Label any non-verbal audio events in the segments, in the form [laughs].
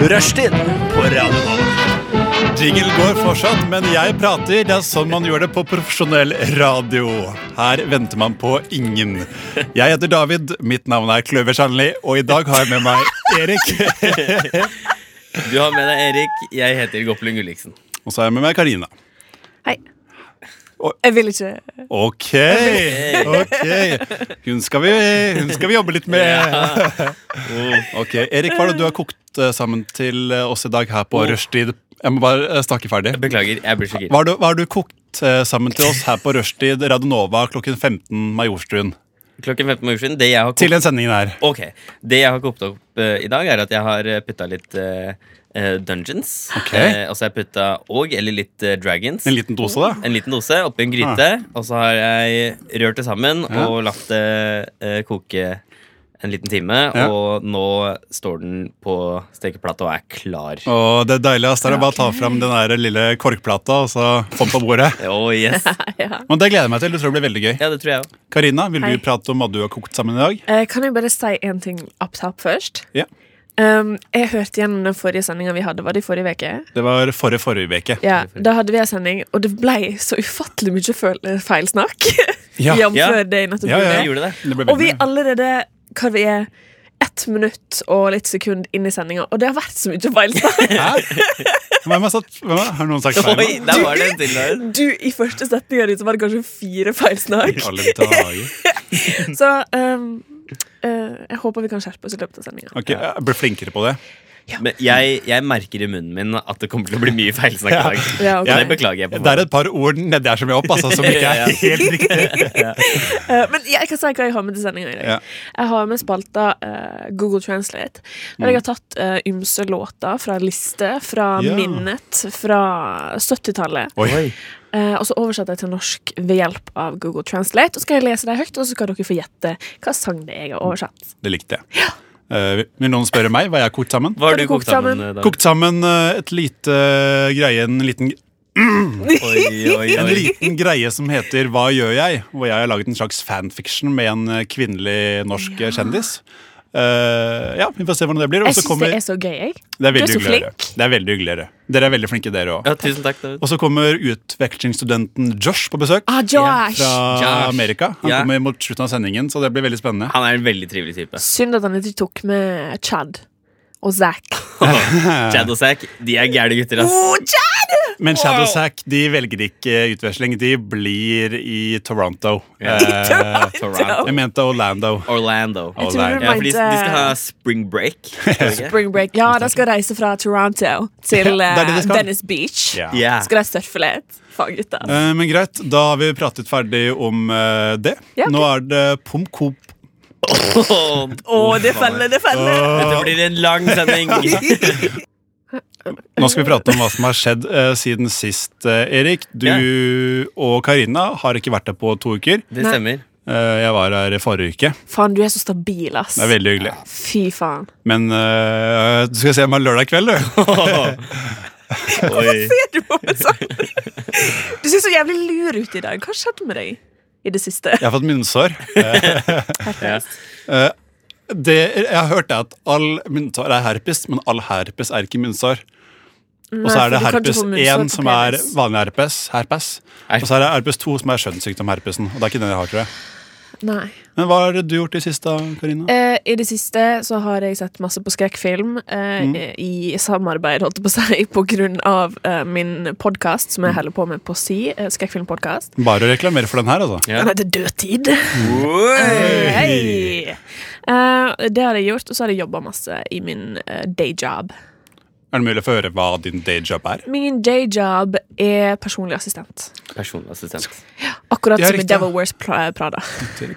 Rushtid på Radio Nova. Jingle går fortsatt, men jeg prater. Det er sånn man gjør det på profesjonell radio. Her venter man på ingen. Jeg heter David, mitt navn er Kløver Sandli, og i dag har jeg med meg Erik. Du har med deg Erik. Jeg heter Goppelund Gulliksen. Og så har jeg med meg Karina. Hei. Oi. Jeg vil ikke Ok, ok. Hun skal vi, hun skal vi jobbe litt med. Ok, Erik, hva er det du har kokt eh, sammen til eh, oss i dag her på rushtid? Jeg må bare eh, snakke ferdig. Beklager, jeg blir så gira. Hva har du, hva har du kokt eh, sammen til oss her på rushtid Radionova klokken 15 Majorstuen? Klokken 15 år siden. Det jeg har kokt, Til den sendingen her. Ok, det jeg har kokt opp eh, i dag, er at jeg har putta litt eh, eh, Dungeons. Ok. Eh, og så har jeg putta og, eller litt eh, Dragons. En liten dose, da. En liten dose oppi en gryte. Og så har jeg rørt det sammen Ja. og latt det eh, koke en liten time. Ja. Og nå står den på stekeplata og er klar. Og det deilige ass, det er å bare ta fram den der lille korkplata og så få den på bordet. Oh, yes. Men Det gleder jeg meg til. Det tror jeg blir veldig gøy. Ja, det tror jeg òg. Karina, vil Hei. du prate om hva du har kokt sammen i dag? Eh, Kan jeg bare si en ting up top først? Ja. Um, jeg hørte gjennom den forrige sendinga vi hadde. Var det i forrige uke? Det var forrige forrige uke. Ja, Da hadde vi en sending, og det ble så ufattelig mye føl- feilsnakk. [laughs] Ja. Jf. Ja. det jeg nettopp Ja, ja. Jeg gjorde. gjorde det. Det ble Og vi veldig- allerede hva vi er ett minutt og litt sekund inn i sendinga, og det har vært så mye [laughs] feilsnakk. Hæ? Hvem har, satt, hvem har, har noen sagt feil? Oi, nå? der var det en til der. Du, I første setninga di så var det kanskje fire feilsnakk. I alle dager. [laughs] Så um, eh, jeg håper vi kan skjerpe oss i løpet av sendinga. Ok, jeg blir flinkere på det. Men jeg, jeg merker i munnen min at det kommer til å bli mye feilsnakk i dag. Ja, ok. Og det beklager jeg på. Det er et par ord nedi her som jeg opp, altså, som ikke Ja, ja. er helt riktig. Eh, men jeg kan si hva jeg har med til sendinga i dag. Ja. Jeg har med spalta eh, Google Translate. Der jeg har tatt eh, ymse låter fra liste, fra Mm. Ja. minnet, fra 70-tallet. Oi. eh, og så oversatte jeg til norsk ved hjelp av Google Translate. Og så skal jeg lese dem høyt, og så skal dere få gjette hva sang det er jeg har oversatt. Det likte jeg. Eh, vil noen spørre meg hva jeg har kokt sammen? Hva har Har du du kokt kokt sammen? sammen? David? Kokt sammen eh, et lite eh, greie, en liten, Oi, oi, en oi. liten greie som heter Hva gjør jeg? Hvor jeg har laget en slags fanfiction med en eh, kvinnelig norsk eh, kjendis. Eh, ja, vi får se hvordan det blir. Og Jeg så syns kommer, det er så gøy, jeg. det er du er veldig hyggelig så å høre. flink. Det er veldig hyggelig å høre. Dere er veldig flinke, dere òg. Ja, tusen takk, David. Og så kommer utvekslingsstudenten Josh på besøk Ah, Josh! fra Josh. Amerika. Han Ja. kommer mot slutten av sendingen, så det blir veldig spennende. Han er en veldig trivelig type. Synd at han ikke tok med Chad og Zack. Chad og Zack, de er gærne gutter, ass. Oh, Men Shadowsack de velger ikke utveksling. De blir i Toronto. Ja. Eh, [laughs] Toronto. jeg mente Orlando. Orlando. Jeg tror du Ja, fordi de mente- skal ha spring break. skal de ikke? Spring break. Ja, de skal reise fra Toronto til Ja, det er det eh, de skal. Venice Beach. Ja. Ja. Skal de surfe litt? Faggutta. Eh, men greit, da har vi pratet ferdig om eh, det. Ja, ok. Nå er det Pom Coop. Åh, Å, det feller, det feller! Dette blir en lang sending. Nå skal vi prate om hva som har skjedd eh, siden sist, eh, Erik. Du og Karina har ikke vært der på to uker. Det stemmer. Eh, jeg var her i forrige uke. Faen, du er så stabil, ass. Det er veldig hyggelig. Fy faen. Men eh, du skal se meg lørdag kveld, du. Oi. Ser du på meg sånn? Du ser så jævlig lur ut i dag. Hva skjedde med deg i det siste? Jeg har fått munnsår. Ja. det, jeg har hørt det at all munnsår er herpes, men all herpes er ikke munnsår. Og så Nei, er det for du kan ikke herpes få 1 munnsår på som er penis. vanlig herpes, herpes. Herpes. Og så er det herpes 2 som er skjønnssykdom-herpesen. Og det er ikke den jeg har, tror jeg. Nei. Men hva har du gjort i siste, Karina? Eh, I det siste så har jeg sett masse på skrekkfilm eh, i i samarbeid, holdt jeg på å si, på grunn av eh, min podkast som jeg holder på med på Si, eh, skrekkfilmpodkast. Bare å reklamere for den her, altså. Ja. Den heter Dødtid. Oi. Hei! Eh, det har jeg gjort, og så har jeg jobba masse i min eh, dayjob. Er det mulig å få høre hva din dayjob er? Min dayjob er personlig assistent. Personlig assistent. Akkurat Ja, som i riktig. Devil Wears Pra- Prada.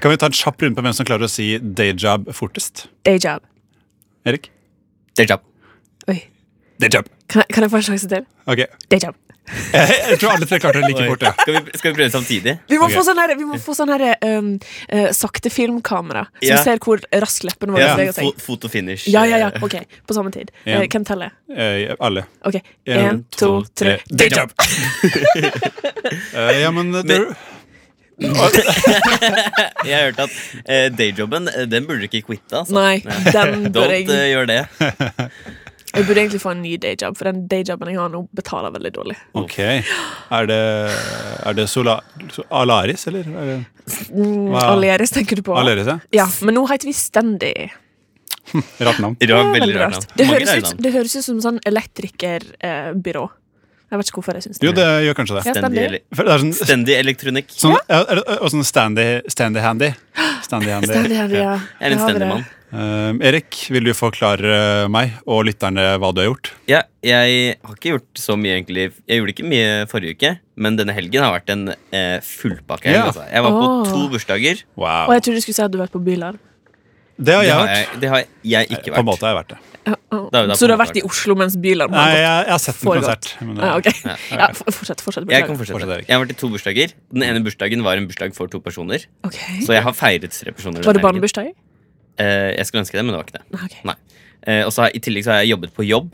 Kan vi ta en kjapp runde på hvem som klarer å si dayjob fortest? Dayjob. Erik? Det er jobb. Oi. Dayjob. Kan, jeg- kan jeg få en sjanse til? Ok. Dayjob. Jeg tror alle tre klarte det like Oi. fort. Ja. Skal vi, skal vi prøve samtidig? Vi må Ok. få sånn her, vi må få sånn her um, eh, sakte filmkamera som Ja. ser hvor raskt leppene våre Ja, beveger seg. sånn fo- Fotofinish. eh, Ja, ja, ja. Ok, På samme tid. En. Eh, hvem teller? Eh, alle. Ok, En, Én, to, tre. Dayjob! Eh, ja, men det, Men- [laughs] Jeg hørte at [laughs] eh, dayjobben, eh, den burde du ikke quitte. Altså. Nei, den bør Don't eh, jeg gjør det. Jeg burde egentlig få en ny dayjob, for den dayjobben jeg har nå, betaler veldig dårlig. Ok. Er det, er det sola, Alaris, eller? Er det, Mm, Wow. Aleris tenker du på? Alaris, ja. Ja, men nå heter vi Stendy. Rart navn. Det var veldig Veldig rart. rart. navn. Det Mange høres, rare ut, navn. det høres ut som sånn elektrikerbyrå. Jeg vet ikke hvorfor jeg syns det. Jo, det gjør kanskje det. Ja. Stendig stemmer. ele- For det er sånn, Stendig elektronikk. sånn, er- er det- og sånn standy, standy handy. Standy handy. Stendy, ja, ja. Jeg er en Ja, det stendig mann. Um, Erik, vil du forklare eh, meg og lytterne hva du har gjort? Ja, jeg har ikke gjort så mye, egentlig. Jeg gjorde ikke mye forrige uke, men denne helgen har vært en eh, fullpakke. helg, Ja. Altså. Jeg var på Åh. to bursdager. Og Wow. jeg trodde du skulle si at du har vært på Bylarm. Det har Det jeg har vært. jeg, det har jeg ikke På en måte vært. har jeg vært det. Da Ja, ja. er vi da på Så du har en måte vært i Oslo mens Bylarm Nei, har gått? jeg, jeg har sett en Foregått. konsert. Men, eh, Ja, ok. Ja, ja, for- fortsett. fortsett Jeg kan beklager. fortsette. Fortsett, Erik. Jeg har vært i to bursdager. Den ene bursdagen var en bursdag for to personer. Ok. Så jeg har feiret tre personer. Var det denne helgen. barnebursdag? Eh, jeg skulle ønske det, men det var ikke det. Nei, ok. Nei. Eh, og så har, I tillegg så har jeg jobbet på jobb.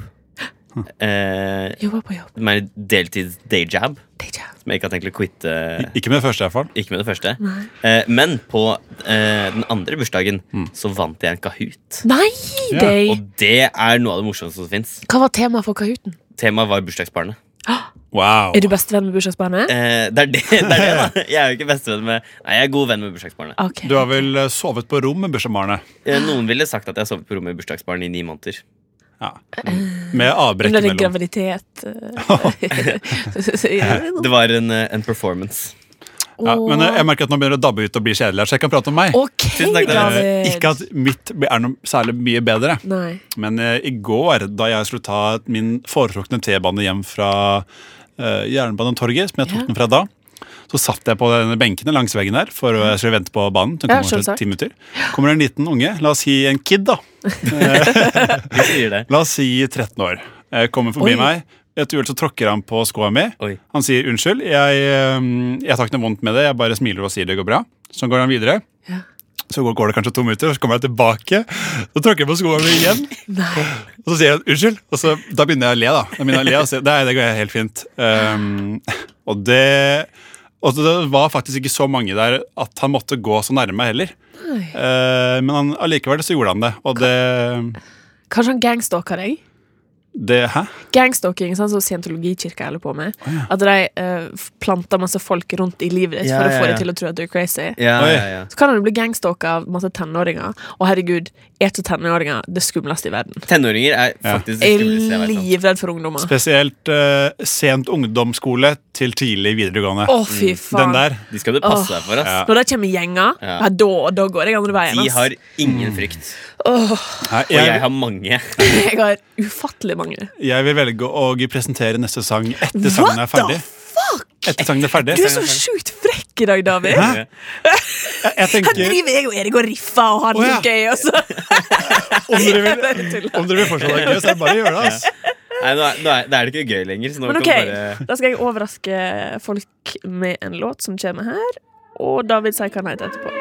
Eh, Jobba på jobb. med deltids dayjab, Det er ikke jeg. som jeg ikke har tenkt å quitte. Ikke med det første, i hvert fall. Ikke med det første. Eh, men på eh, den andre bursdagen så vant jeg en Kahoot. Nei, Ja, Og det det er noe av det morsomste som fins. Hva var temaet for Kahooten? Temaet var bursdagsbarnet. Wow. Er du bestevenn med bursdagsbarnet? Eh, det, er det, det er det, da. Jeg er jo ikke bestevenn med Nei, jeg er god venn med bursdagsbarnet. Ok. Du har vel eh, sovet på rom med bursdagsbarnet? Eh, noen ville sagt at jeg har sovet på rommet med bursdagsbarnet i ni måneder. Ja. Eh, Med avbrekk Under din imellom. graviditet [laughs] eh, [laughs] ja, det er noe. Det var en, eh, en performance. Ja, men eh, jeg merker at nå begynner det å dabbe ut og bli kjedelig. her, Så jeg kan prate om meg. OK, Tusen takk, Eh, David. Ikke at mitt er noe særlig mye bedre, Nei. men eh, i går, da jeg skulle ta min foretrukne T-bane hjem fra eh, Jernbanetorget, som jeg tok Ja. den fra da, så satt jeg på denne benkene langs veggen der for å- jeg skulle vente på banen. Den Ja, kommer til selvsagt. ti minutter. Kommer det en liten unge, la oss si en kid, da. Du sier det. La oss si 13 år. Eh, Kommer forbi Oi. meg. Et uhell så tråkker han på skoa mi. Oi. Han sier 'unnskyld, jeg, eh, jeg tar ikke noe vondt med det', jeg bare smiler og sier det går bra. Så går han videre. Ja. Så går, går det kanskje to minutter, så kommer jeg tilbake. Så tråkker jeg på skoa mi igjen, [laughs] Nei. og så sier jeg 'unnskyld'. Og så, da begynner jeg å le, da. da begynner jeg å le og sier, Nei, det går helt fint. Um, og det og det var faktisk ikke så mange der at han måtte gå så nærme heller. Nei. Eh, men han, allikevel så gjorde han det. Og det, Kanskje han gangstalker deg? det Hæ? Gangstalking, sånn som scientologikirka holder på med. At de eh, f- planter masse folk rundt i livet ditt Ja, for å ja, få ja. deg til å tro at du er crazy. Ja, Oi. ja, ja. Så kan han jo bli gangstalka av masse tenåringer. Og herregud, er ikke tenåringer det skumleste i verden? Tenåringer er faktisk det Jeg skumleste jeg er vet om. livredd for ungdommer. Spesielt eh, sent ungdomsskole til tidlig videregående. Å, fy Mm. faen. Den der. De skal du passe deg for. ass Ja. Når det kommer i gjenger, ja. Ja. da, da går jeg andre veien. De ass. har ingen frykt. Åh, Nei, Og jeg jeg, har mange. [laughs] jeg har ufattelig mange. jeg vil velge å presentere neste sang etter sangen er What the ferdig. fuck?! Etter sangen er ferdig. Du er så sjukt frekk i dag, David. Hæ? Jeg, jeg Her tenker, driver jeg og Erik og riffer og har det Å, ja. litt gøy, og så om dere [laughs] Jeg bare vil, tuller. om dere vil fortsatt ha det gøy, så er det bare å gjøre det. ass. Nei, nå er, nå er, det er det ikke gøy lenger. Så nå kan Men ok, du bare da skal jeg overraske folk med en låt som kommer her. Og David sier hva han heter etterpå.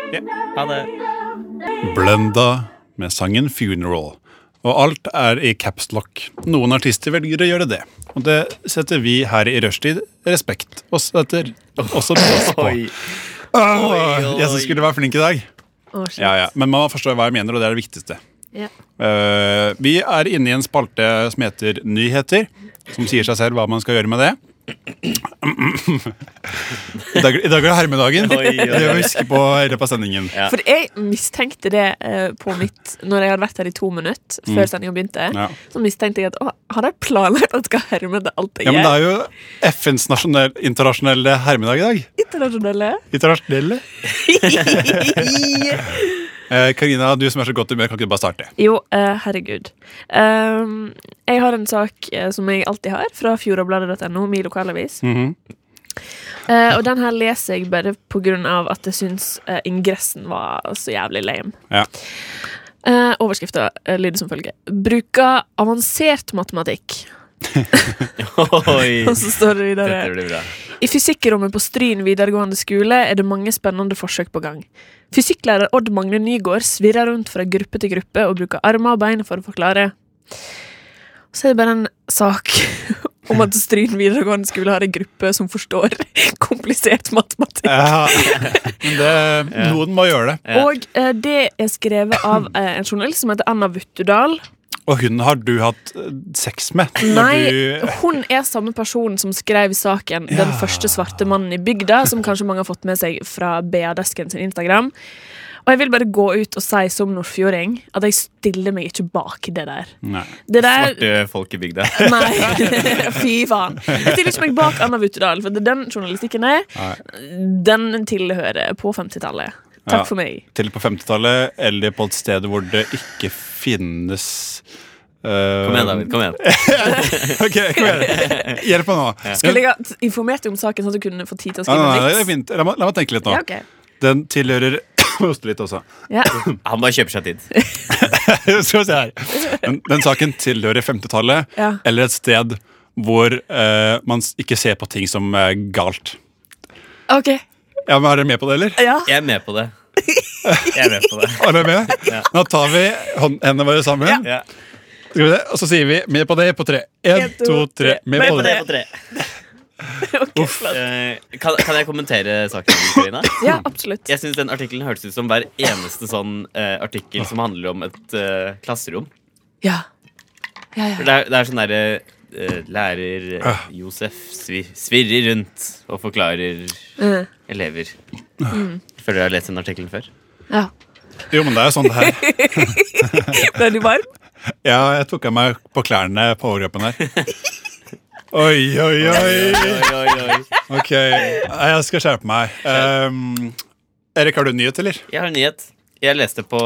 ha det. Blenda med sangen 'Funeral'. Og alt er i caps lock. Noen artister velger å gjøre det. Og det setter vi her i rushtid respekt og setter også pris på. Oi. Åh, Jeg som skulle være flink i dag. Å, shit. Ja, ja. Men man forstår hva jeg mener, og det er det viktigste. Ja. Eh, vi er inne i en spalte som heter Nyheter, som sier seg selv hva man skal gjøre med det. I dag, i dag er det hermedagen. Oi, oi, oi. Det må vi huske på i løpet av sendingen. Ja. For jeg mistenkte det eh, på mitt Når jeg hadde vært her i to minutter før sendinga begynte. Mm. Ja. Så mistenkte jeg at å, har de planlagt at jeg skal herme det alt jeg Ja, men det gjør? er jo FNs nasjonell, internasjonelle hermedag i dag. Internasjonale. [laughs] Internasjonelle. Eh, Karina, du som er så godt humør, kan ikke du bare starte? jo, eh, herregud. Um, jeg har en sak eh, som jeg alltid har, fra fjordabladet.no, min lokalavis. Eh, og den her leser jeg bare på grunn av at jeg syns eh, ingressen var så jævlig lame. Ja. Uh, Overskrifta eh, lyder som følger. Bruker avansert matematikk. Oi. [laughs] Og så står det videre Dette blir bra. I fysikkrommet på Stryn videregående skole er det mange spennende forsøk på gang. Fysikklærer Odd Magne Nygård svirrer rundt fra gruppe til gruppe og bruker armer og bein for å forklare. Så er det bare en sak [laughs] om at Stryn videregående skole har en gruppe som forstår [laughs] komplisert matematikk. Ja, men det, noen må gjøre det. Ja. Og eh, det er skrevet av eh, en journalist som heter Anna Vuttudal. Og hun har du hatt eh, sex med? når Nei, du- hun er samme person som skrev saken 'Den Ja. første svarte mannen i bygda', som kanskje mange har fått med seg fra BA-desken sin Instagram. Og jeg vil bare gå ut og si som nordfjording at jeg stiller meg ikke bak det der. Nei. Det der Svarte folk i bygda. Nei, [laughs] fy faen. Jeg stiller ikke meg bak Anna Vuttedal, for det er den journalistikken er. Nei. Den tilhører på 50-tallet. Ja. Takk for meg. Til på 50-tallet, eller på et sted hvor det ikke finnes eh, Kom igjen, David. kom igjen Ok, kom igjen. Hjelp [laughs] meg nå. Skulle jeg ha t- informert deg om saken, sånn at du kunne få tid til å Nei, nei, nei, skrive det er en vits? fint. La, meg, la meg tenke litt nå. Ja, ok. Den tilhører [coughs] Hoste litt også. [laughs] Ja. Han bare kjøper seg tid. Skal vi se her. Den, den saken tilhører 50-tallet, Ja. eller et sted hvor eh, man s- ikke ser på ting som eh, galt. Ok. Ja, men Er dere med på det, eller? Ja. Jeg er med på det. Jeg er med på det. Er dere med? [laughs] Nå tar vi hånd, hendene våre sammen, Ja. Skal vi se, og så sier vi 'med på det' på tre. Én, En, to, to, tre. tre. Med på det. på tre. [laughs] Ok, flott. Eh, kan, kan jeg kommentere saken? Karina? ja, absolutt. Jeg synes den artikkelen hørtes ut som hver eneste sånn eh, artikkel som handler om et eh, klasserom. Ja. Ja, For ja. Det er, det er sånn derre eh, lærer eh, Josef svir, svirrer rundt og forklarer Mm. elever. Føler jeg har lest den artikkelen før. ja. Jo, men det er jo sånn det her. Ble du varm? Ja, jeg tok av meg på klærne på overkroppen [laughs] her. Oi, oi, oi. Ok, Nei, jeg skal skjerpe meg. Ehm, Erik, har du en nyhet, eller? Jeg har en nyhet. Jeg leste på,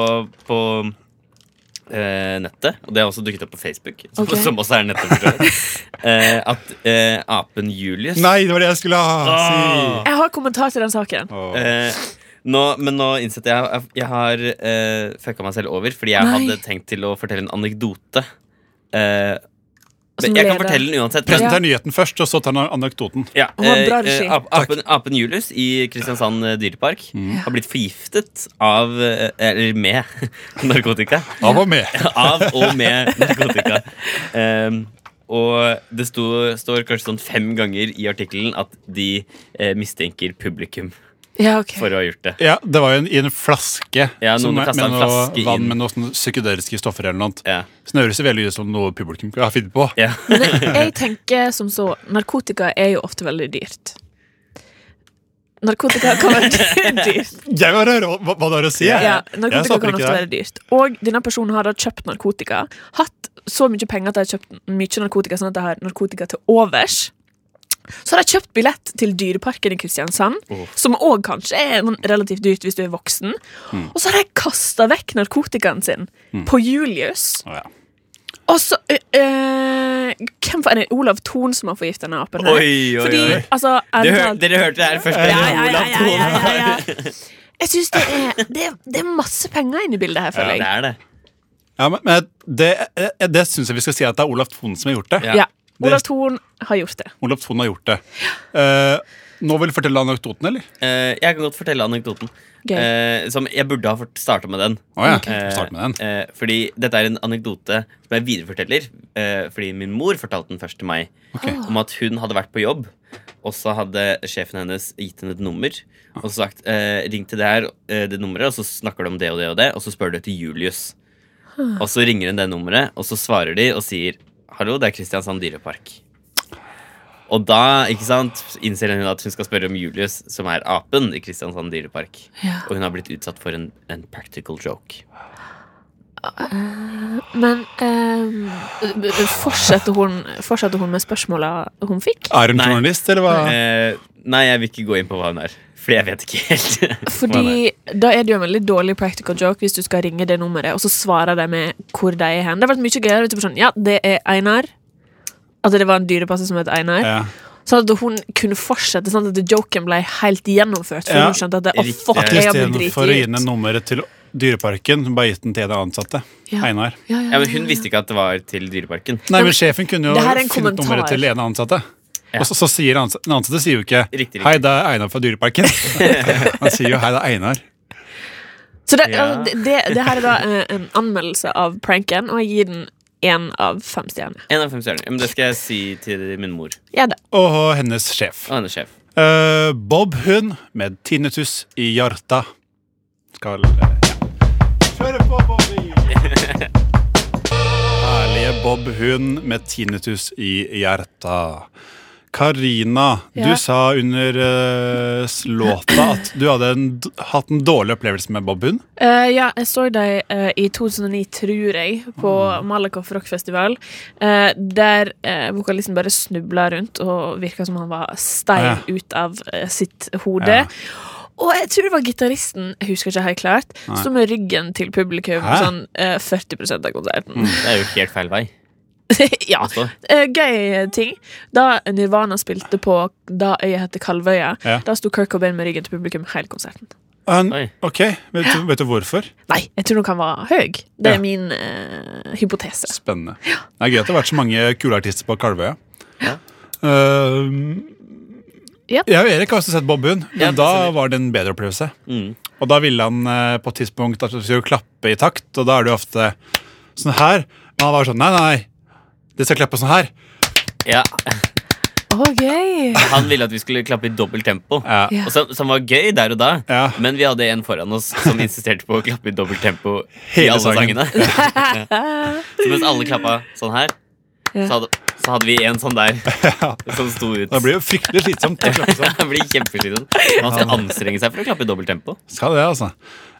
på eh, nettet, og det har også dukket opp på Facebook, som, Ok. [laughs] som også er nettet. for så vidt, eh, at eh, apen Julius Ah. Nei, det var det jeg skulle ha. Si. Jeg har kommentar til den saken. Åh. Eh, nå, men nå innsetter jeg jeg- Jeg har eh, fucka meg selv over, fordi jeg Nei. hadde tenkt til å fortelle en anekdote. Eh, Som men jeg kan leder. fortelle den uansett. Men, Presenter nyheten først, og så tar han anekdoten. ja, Å, bra eh, regi. eh, ap- apen, apen Julius i Kristiansand eh, dyrepark har blitt forgiftet av eh, Eller med [laughs] narkotika. Av og med. Av og med narkotika. Ehm, og det sto, står kanskje sånn fem ganger i artikkelen at de eh, mistenker publikum Ja, ok. for å ha gjort det. Ja, Det var jo en, i en flaske Ja, noen med, kastet med en noe flaske vann inn. med noe sånn psykedeliske stoffer eller noe. Ja. Så det høres jo veldig ut som noe publikum har funnet på. Ja. Men jeg- jeg tenker som så Narkotika er jo ofte veldig dyrt. Narkotika kan være [laughs] dyrt. Jeg vil høre hva, hva du har å si. jeg. Ja, jeg narkotika stopper kan ofte ikke der. være dyrt. Og denne personen har da kjøpt narkotika. Hatt så mye penger at de har kjøpt mye narkotika, sånn at de har narkotika til overs. Så har de kjøpt billett til Dyreparken i Kristiansand, som òg kanskje er noen relativt dyrt hvis du er voksen. Og så har de kasta vekk narkotikaen sin på Julius. Å, ja. Og så eh, eh, Hvem for, er det Olav Thon som har forgifta denne apen? her? Oi, oi, Fordi, oi. altså Du ærlig hør, talt- dere hørte det her først. ja, ja, ja, ja, ja, ja, ja. Jeg syns det er det, det er masse penger inne i bildet her, føler det jeg. er det. Ja, men, men det, eh, det syns jeg vi skal si at det er Olaf Thon som har gjort det. Ja. Ja. Det- Olav Thon har gjort det. Olaf Thon har gjort det. Eh, nå vil du fortelle anekdoten, eller? Eh, jeg kan godt fortelle anekdoten. Gøy. Eh, som jeg burde ha starta med den. Å ja, Ok. vi starter med den. Eh, eh, fordi dette er en anekdote som jeg videreforteller. eh, fordi min mor fortalte den først til meg. Ok. Om at hun hadde vært på jobb, og så hadde sjefen hennes gitt henne et nummer. Og så sagt eh, 'ring til det her, eh, det nummeret', og så snakker de om det og det og det, og så spør du etter Julius. Og så ringer hun det nummeret, og så svarer de og sier 'hallo, det er Kristiansand dyrepark'. Og da ikke sant, innser hun at hun skal spørre om Julius, som er apen i Kristiansand dyrepark. Ja. Og hun har blitt utsatt for en, en practical joke. Men eh, fortsetter, hun, fortsetter hun med spørsmåla hun fikk? Er hun eh, Nei. journalist, eller hva? Eh, nei, jeg vil ikke gå inn på hva hun er, Fordi jeg vet ikke helt. [laughs] hva hun er. Fordi Da er det jo en veldig dårlig practical joke hvis du skal ringe det nummeret, og så svarer de med hvor de er hen. Det har vært mye gøyere. Typ sånn, ja, det er Einar. At det var en dyrepasse som het Einar. Ja. Sånn at hun kunne fortsette sånn at joken ble helt gjennomført. For Ja. hun skjønte at det, oh, Riktig. fuck, At jeg har blitt Istedenfor å gi henne dritgitt. nummeret til Dyreparken, hun bare gitt den til de ansatte. Ja. Einar. Ja, ja, Ja, ja. men hun visste ikke at det var til Dyreparken. Nei, men Sjefen kunne jo Det her er en finne kommentar. nummeret til ene ansatte. Ja. Og så, så sier ansatte, den ansatte sier jo ikke Riktig, riktig. 'Hei, det er Einar fra [laughs] Dyreparken'. Han sier jo 'Hei, det er Einar'. Så det, Ja. altså, det, det, det her er da eh, en anmeldelse av pranken, og jeg gir den én av fem stjerner. En av fem stjerner. Ja, Men det skal jeg si til min mor Ja, da. Og hennes sjef. og hennes sjef. Eh, Bob Hund med tinnitus i hjarta. Skal eh, ja. Kjøre på, Bobby! Bob Hund med tinnitus i hjertet. Karina, Ja. du sa under eh, s- låta at du hadde en, d- hatt en dårlig opplevelse med Bob Hund. Eh, ja, jeg så dem eh, i 2009, tror jeg, på Mm. Malakoff rockfestival. eh, der eh, vokalisten bare snubla rundt og virka som han var stein Ah, ja. ut av eh, sitt hode. Ja. Og jeg tror det var gitaristen, jeg husker ikke helt klart, Nei. som med ryggen til publikum Hæ? sånn eh, 40 av konserten. Det er jo helt feil vei. Mm. [laughs] ja. Altså. Eh, gøy ting. Da Nirvana spilte på Da øya heter Kalvøya, Ja. da sto Kirk Cobain med ryggen til publikum hele konserten. Han- Oi. ok, vet du, vet du hvorfor? Nei, jeg tror nok han var høy. Det er Ja. min eh, hypotese. Spennende. Det er gøy at det har vært så mange kule artister på Kalvøya. Ja. Eh, Ja. Jeg og Erik har også sett Bob Hund, men Ja, da selvfølgelig. var det en bedre opplevelse. Mm. Og da ville han eh, på et tidspunkt at du skulle klappe i takt, og da er det jo ofte sånn her. Men han var sånn nei, nei, det skal klappe sånn [laughs] her. Ja, Ok Han ville at vi skulle klappe i dobbelt tempo. Ja. Ja. Og som, som var gøy der og da, Ja. men vi hadde en foran oss som insisterte på å klappe i dobbelt tempo i Hele alle sangen. sangene. [laughs] Så mens alle klappa sånn her, Ja. så, hadde, så hadde vi en sånn der som sto ut. Det blir jo fryktelig slitsomt å [laughs] klappe sånn. Det blir kjempeslitsomt. Man skal anstrenge seg for å klappe i dobbelt tempo. Skal det, altså.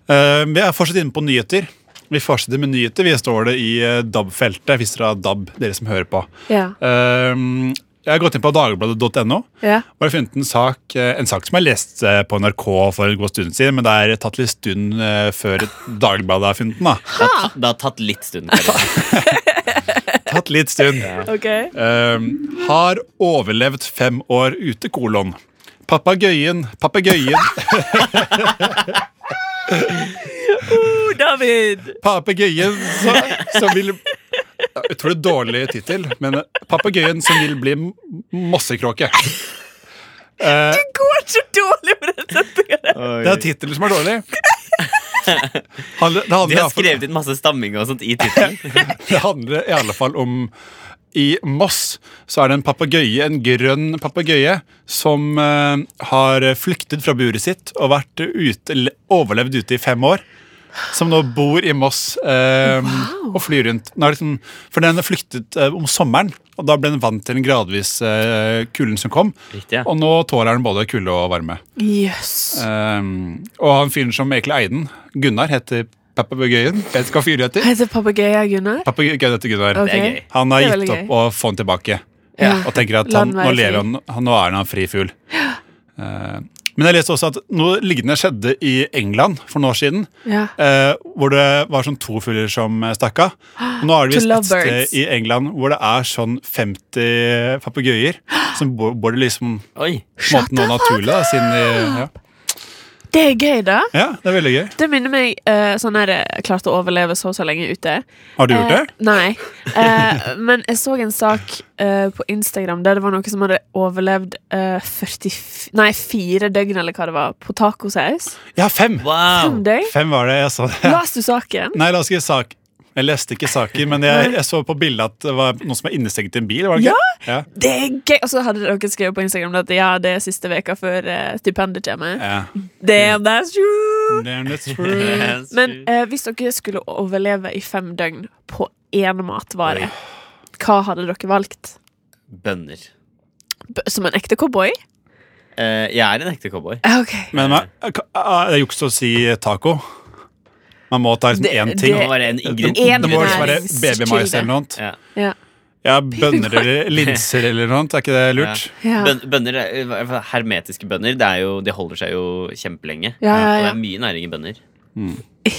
Eh, vi er fortsatt inne på nyheter. Vi fortsetter med nyheter. Vi står det i eh, DAB-feltet, hvis dere har DAB, dere som hører på. Ja. Eh, jeg har gått inn på dagbladet.no. Ja. Og jeg har funnet en sak, eh, en sak som jeg leste eh, på NRK for en god stund siden, men det er tatt litt stund eh, før Dagbladet har funnet den. da. Det har, ta- det har tatt litt stund. Karina. Tatt litt stund. Ok. Ehm, har overlevd fem år ute, kolon. Papegøyen, papegøyen, [laughs] Oh, David! papegøyen som, som vil Ja, Utrolig dårlig tittel, men eh, papegøyen som vil bli m- mossekråke. Eh, Det går så dårlig med den setningen. [laughs] det er tittelen som er dårlig. Handler- det handler De har iallfall- skrevet inn masse stamming og sånt i [laughs] tittelen. Det handler i alle fall om I Moss så er det en papegøye, en grønn papegøye, som eh, har flyktet fra buret sitt og vært ute, le- overlevd ute i fem år. Som nå bor i Moss eh, og flyr rundt. Den er liksom, for den flyktet eh, om sommeren, og da ble den vant til den gradvis eh, kulden som kom. Riktig, ja. Og nå tåler den både kulde og varme. Jøss. Eh, og han fyren som egentlig eide den, Gunnar, heter papegøyen. Vet ikke hva fyren heter. Heter papegøya Gunnar? Papegøyen heter Gunnar. Ok. Det er gøy. Han har Det gitt er veldig opp å få den tilbake. Ja. Og tenker at La han, den nå, være lever fri. han, han, nå er han fri fugl. Eh, men jeg leste også at noe lignende skjedde i England for noen år siden. Ja. eh, hvor det var sånn to fugler som eh, stakk av. Og Nå er det [gasps] To visst et lovebirds. sted i England hvor det er sånn 50 papegøyer som bor, bor det liksom Oi. på en måte noe naturlig. Da, siden de, ja. Det er gøy, da. ja, det er veldig gøy. Det minner meg eh, sånn her eh, klarte å overleve så og så lenge ute. Har du gjort det? Eh, nei. Eh, men jeg så en sak eh, på Instagram der det var noen som hadde overlevd eh, 40, nei, fire døgn eller hva det var, på tacosaus. Ja, fem! Wow. Fem døgn? Fem var det jeg så det. Leste du saken? Nei, la oss ikke sak Jeg leste ikke saken, men jeg, jeg så på bildet at det var noen som var innestengt i en bil. var det ikke? Ja. Det er gøy! Og så hadde dere skrevet på Instagram at ja, det er siste veka før eh, stipendet kommer. Ja. Damn, that's true! Damn, that's true. Yes. Men eh, hvis dere skulle overleve i fem døgn på én matvare, hva hadde dere valgt? Bønner. B som en ekte cowboy? Eh, jeg er en ekte cowboy. Eh, Ok. Men man- ah, det er juks å si taco. Man må ta liksom Det- én ting. Det Det, må være en det, ingre- En må liksom være næringskilde. babymais eller noe. annet. Ja. Ja. Ja, Bønner [laughs] eller linser eller noe. annet, Er ikke det lurt? Ja. Bøn- Bønner, er- i hvert fall hermetiske bønner det er jo, De holder seg jo kjempelenge. Ja, ja, Og det ja. er mye næring i bønner. Mm. [laughs]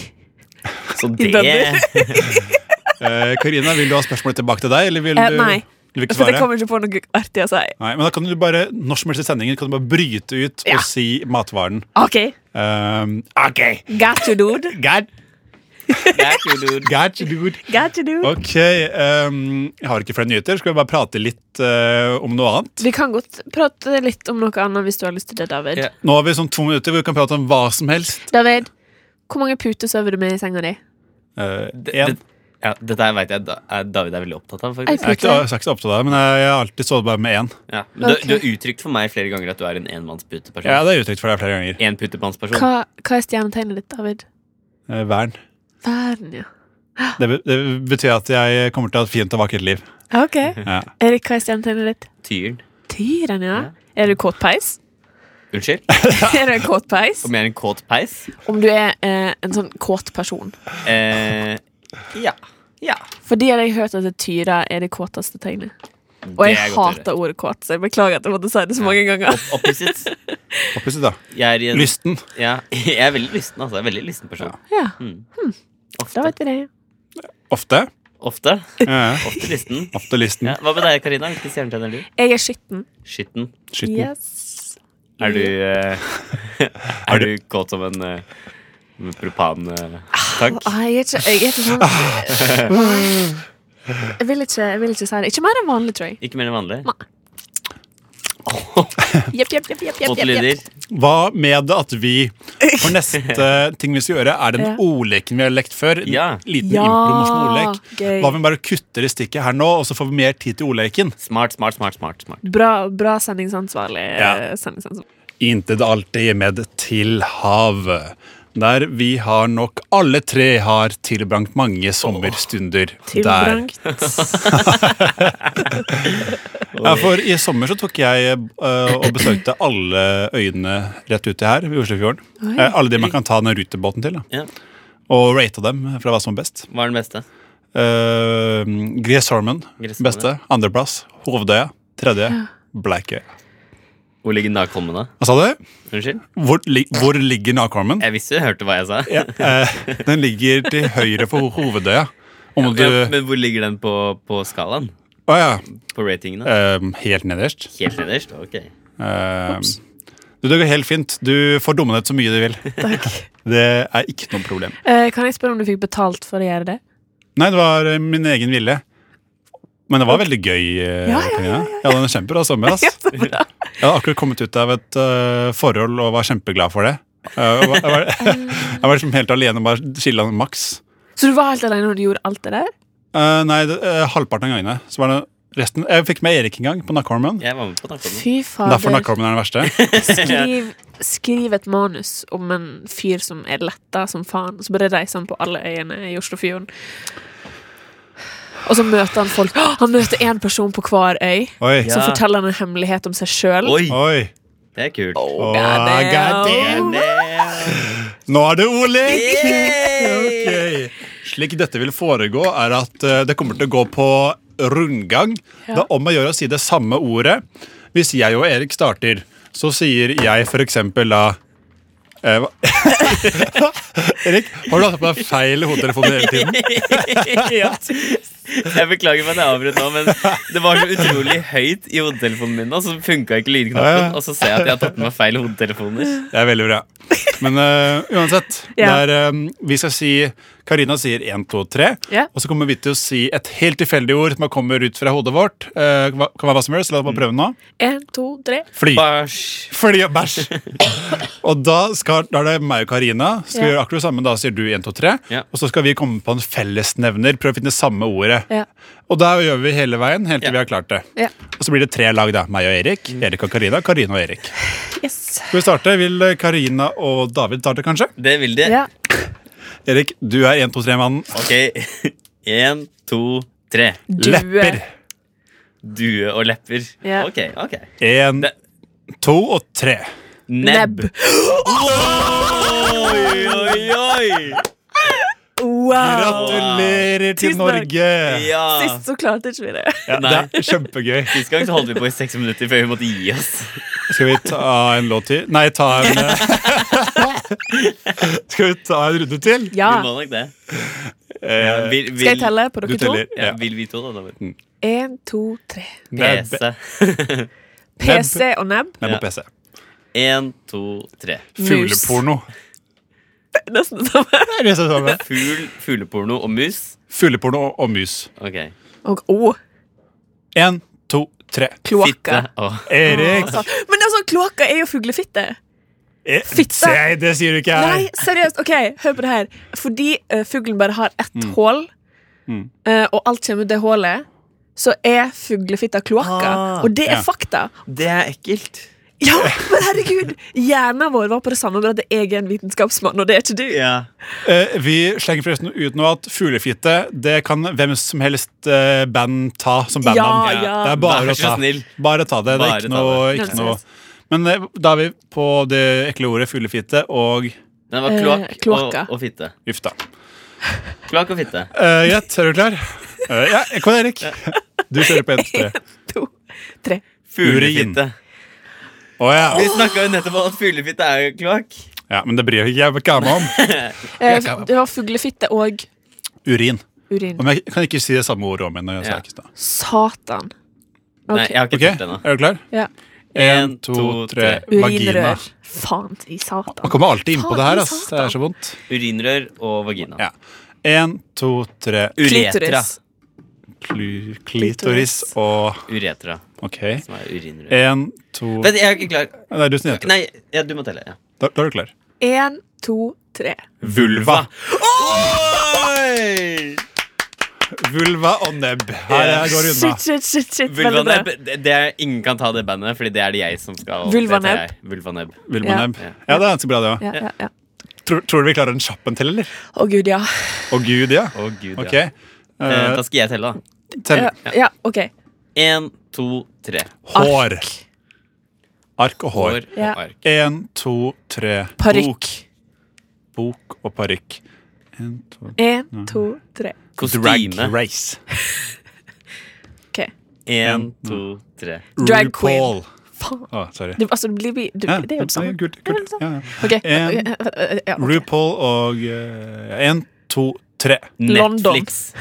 Så I det bønner? Eh, Karina, vil du ha spørsmålet tilbake til deg? Eller vil Eh, du, nei. Vil du ikke For det svare? kommer ikke på noe artig å si. Nei, men da kan du bare, Når som helst i sendingen kan du bare bryte ut Ja. og si matvaren. OK. Um, OK. Got you, dude. God, Det er cool, dude. God, dude. Got you, dude. Ok, ehm, jeg har ikke flere nyheter. Skal vi bare prate litt eh, om noe annet? Vi kan godt prate litt om noe annet hvis du har lyst til det, David. Ja. Nå har vi sånn to minutter hvor vi kan prate om hva som helst. David, hvor mange puter sover du med i senga di? Uh, Det- en, det- Ja, dette her vet jeg da- er- David er veldig opptatt av. Ei faktisk jeg er ikke, jeg er ikke så opptatt av det, men jeg jeg har alltid sovet bare med én. ja. Men du, Ok. du har uttrykt for meg flere ganger at du er en enmannsputeperson. Ja, det er uttrykt for deg flere ganger. Enputemannsperson. Hva, hva er stjernetegnet ditt, David? Eh, Vern. Verden, ja. Det, be det betyr at jeg kommer til å ha et fint og vakkert liv. Ok. Ja. Erik, hva er stjernetegnet ditt? Tyren. Tyren, ja. Er du kåt peis? Unnskyld? [laughs] er du en kåt peis? Om jeg er en kåt peis? Om du er eh, en sånn kåt person. Eh, ja. Ja. Fordi jeg har hørt at tyra er det kåteste tegnet. Og Det jeg er godt å høre. hater ordet kåt, så jeg beklager at jeg måtte si det så mange ganger. [laughs] Opp- Opposite. Oppusset, da. Jeg er, i en, Lysten. ja, jeg er veldig lysten, altså. Jeg er veldig lysten person. Ja, Mm. da Ofte. vet vi det. Ofte. Ofte. Ja. Ofte lysten. Ofte lysten. Ja. Hva med deg, Karina? Hvilken stjernetjenner er du? Jeg er skitten. Skitten. Skitten. Yes. Er du, eh, Er er du du- kåt som en eh, propan-tank? Nei, jeg er ikke, jeg er ikke sånn Ah. jeg vil ikke, jeg vil ikke si det. Ikke mer enn vanlig, tror jeg. Ikke mer enn vanlig? Jepp, jepp, jepp, jepp, jepp, Kåte jepp, lyder? jepp. Hva med at vi For [laughs] neste ting vi skal gjøre, er den Ja. ordleken vi har lekt før. En Ja. liten Ja, impro morsom ordlek. gøy. Hva om vi bare kutter i stikket her nå, og så får vi mer tid til ordleken? Smart, smart, smart. smart, smart. Bra, bra sendingsansvarlig. Ja. eh, sendingsansvarlig. Intet alltid med til havet. Der vi har nok alle tre har tilbrangt mange sommerstunder der. Tilbrangt. Ja, for i sommer så tok jeg eh, og besøkte alle øyene rett uti her ved Oslofjorden. Oi. Eh, alle de man kan ta den rutebåten til. Da. Ja. Og rata dem fra hva som var best. Hva er den beste? Uh, Greshormen, Gressholmen. beste. Andreplass. Hovdøya. Tredje. Bleikøya. Hvor ligger Nakholmen, da? Hva sa du? Unnskyld? Hvor, li hvor ligger Nakholmen? Jeg visste du hørte hva jeg sa. Ja, eh, [laughs] den ligger til høyre for ho- Hovedøya. Om du Ja, men hvor ligger den på, på skalaen? Å ja. På ratingene? eh, helt nederst. Helt nederst? Ok. Eh, du, det går helt fint. Du får dumme deg ut så mye du vil. [laughs] Det er ikke noe problem. [laughs] Eh, kan jeg spørre om du fikk betalt for å gjøre det? Nei, det var eh, min egen vilje. Men det var veldig gøy. eh, Ja, ja, ja, Karina. Jeg hadde en kjempebra [laughs] sommer. Ass. Så bra. Jeg hadde akkurat kommet ut av et eh, forhold og var kjempeglad for det. Eh, jeg, var, jeg, var, [laughs] jeg var liksom helt alene og bare chilla maks. Så du var helt alene når du gjorde alt det der? Eh, nei, det, eh, halvparten av gangene. Så var det resten Jeg fikk med Erik en gang på Nakkholmen. Jeg var med på Nakholmen. Fy Derfor fader. Nakkholmen er den verste. Skriv, skriv et manus om en fyr som er letta som faen, og så bare reiser han på alle øyene i Oslofjorden. Og så møter han folk. Å, Han møter én person på hver øy. Oi. Ja. Som forteller han en hemmelighet om seg sjøl. Oi, Oi. det er kult. Åh, god damn. Nå er det ordlek! Ok. Slik dette vil foregå, er at eh, det kommer til å gå på rundgang. Ja. Det er om å gjøre å si det samme ordet. Hvis jeg og Erik starter, så sier jeg for eksempel da eh, hva- [laughs] Erik, har du hatt på deg feil hodetelefon hele tiden? Ja. Jeg beklager for at jeg avbrøt nå, men det var så utrolig høyt i hodetelefonen min, og så funka ikke Ja, ja. lydknappen. Og så ser jeg at jeg har tatt med meg feil hodetelefoner. Det er veldig bra. Men eh, uansett, [laughs] Ja. det er, eh, vi skal si Karina sier 1, 2, 3. Ja. Og så kommer vi til å si et helt tilfeldig ord som kommer ut fra hodet vårt. Eh, hva- kan være hva som helst, la oss bare prøve nå. En, to, tre. Fly. Bæsj. Fly og bæsj. [laughs] og da, skal, da er det meg og Karina. Skal vi Ja. gjøre akkurat det samme, Da sier du 1, 2, 3. Ja. Og så skal vi komme på en fellesnevner. Prøve å finne samme ordet. Ja. Og da gjør vi hele veien helt til Ja. Mm. vi har klart det. Ja. Og så blir det tre lag, da. Meg og Erik. Erik og Karina. Karina og Erik. Yes. Skal vi starte? Vil eh, Karina og David starte, kanskje? Det vil de. Ja. Erik, du er 1, 2, 3-mannen. Ok. Én, to, tre. Due. Lepper. Due og lepper. Ja. Ok, ok. 1, Det- 2 og 3. Nebb. Oi, oi, oi! Wow! Gratulerer til Tusen takk. Norge! Ja. Sist så klarte ikke vi det. Ja, det Nei. er kjempegøy. Sist gang så holdt vi på i seks minutter før vi måtte gi oss. Skal vi ta en låt til? Nei, ta en [laughs] eh, Skal vi ta en runde til? Ja. Vi må nok det. Eh, Vil, vil, Skal jeg telle på du dere to? teller. Ja, Ja. Mm. vil vi to, da, David? En, to, tre. Nebb. PC. [laughs] PC og nebb. Nebb Ja. og PC. Én, to, tre. Mus. Fugleporno. Nesten det samme. Det er det som er sammen. Fugl, fugleporno og mus. Fugleporno og- og mus. Ok. Og oh, O. Én, to, tre. Fitte Kloakka. og Erik. Altså, Men altså, kloakka er jo fuglefitte. Eh, fitte. Se, det sier du ikke Nei, her. seriøst. OK, hør på det her. Fordi eh, fuglen bare har ett hull, eh, og alt kommer ut det hullet, så er fuglefitta kloakka. Ah. og det er Ja. fakta. Det er ekkelt. Ja, men herregud! Hjernen vår var på det samme, bare at jeg er en vitenskapsmann, og det er ikke du. Ja. Eh, vi slenger forresten ut nå at fuglefitte det kan hvem som helst eh, band ta som bandnavn. Ja, ja. Det er bare Vær å ta. så snill. Bare ta det. Det er Bare ikke ta noe, det. ikke noe. Men eh, da er vi på det ekle ordet fuglefitte og Den var Eh, kloakk og, kloakka. og fitte. uff da. Kloakk og fitte. Eh, Greit, er du klar? Eh, ja, kom igjen, Erik. Du kjører på 1-3. [laughs] To, tre. Fuglefitte. Å ja. Vi snakka jo nettopp om at fuglefitte er jo kloakk. ja. Men det bryr jeg meg ikke meg om. Eh, det var fuglefitte og Urin. urin. Om jeg kan ikke si det samme ordet om igjen. når jeg sa Ja. i stad. Satan. Ok. Nei, jeg har ikke Ok, telt ennå. Er du klar? Ja. En, to, tre. Vagina. Urinrør. Faen i satan. Man kommer alltid inn på Faen, det her. i ass. Det satan. er så vondt. Urinrør og vagina. Ja. En, to, tre. Uretra. Klu- Klitoris og Uretra, Ok. som er urinrør. En, to Vent, jeg er ikke klar. Nei, du som heter det. Nei, ja, du må telle. Ja. Da da er du klar. En, to, tre. Vulva. Oi! Vulva og nebb. Her Ja. jeg går unna. Shit, shit, shit. shit. Veldig bra. Vulvanebb. Det, det er, ingen kan ta det bandet, Fordi det er det jeg som skal. det tar Vulvanebb. jeg. Vulvanebb. Vulva Ja. og nebb. Ja, det er ganske bra, det òg. Ja, ja, ja. Tror, tror du vi klarer en kjapp en til, eller? Å, gud, ja. Å gud, ja. Å, gud, Ok. ja. Eh, Eh, da skal jeg telle, da. tell. Ja, ja OK. Én, to, tre. Hår. Ark og Hår hår. og Ja. ark. En, to, tre. Parykk. Bok, bok og parykk. En, to En, to, tre. Kostyme. race. OK. Én, to, tre. Drag RuPaul. Faen. Å, sorry. Det, altså, det blir vi du, Ja, Det er jo det samme. Good, Det er good. det samme. Ja, ja. OK. En- Ja, ok. RuPaul og eh, En, to, [laughs] tre. London. Netflix.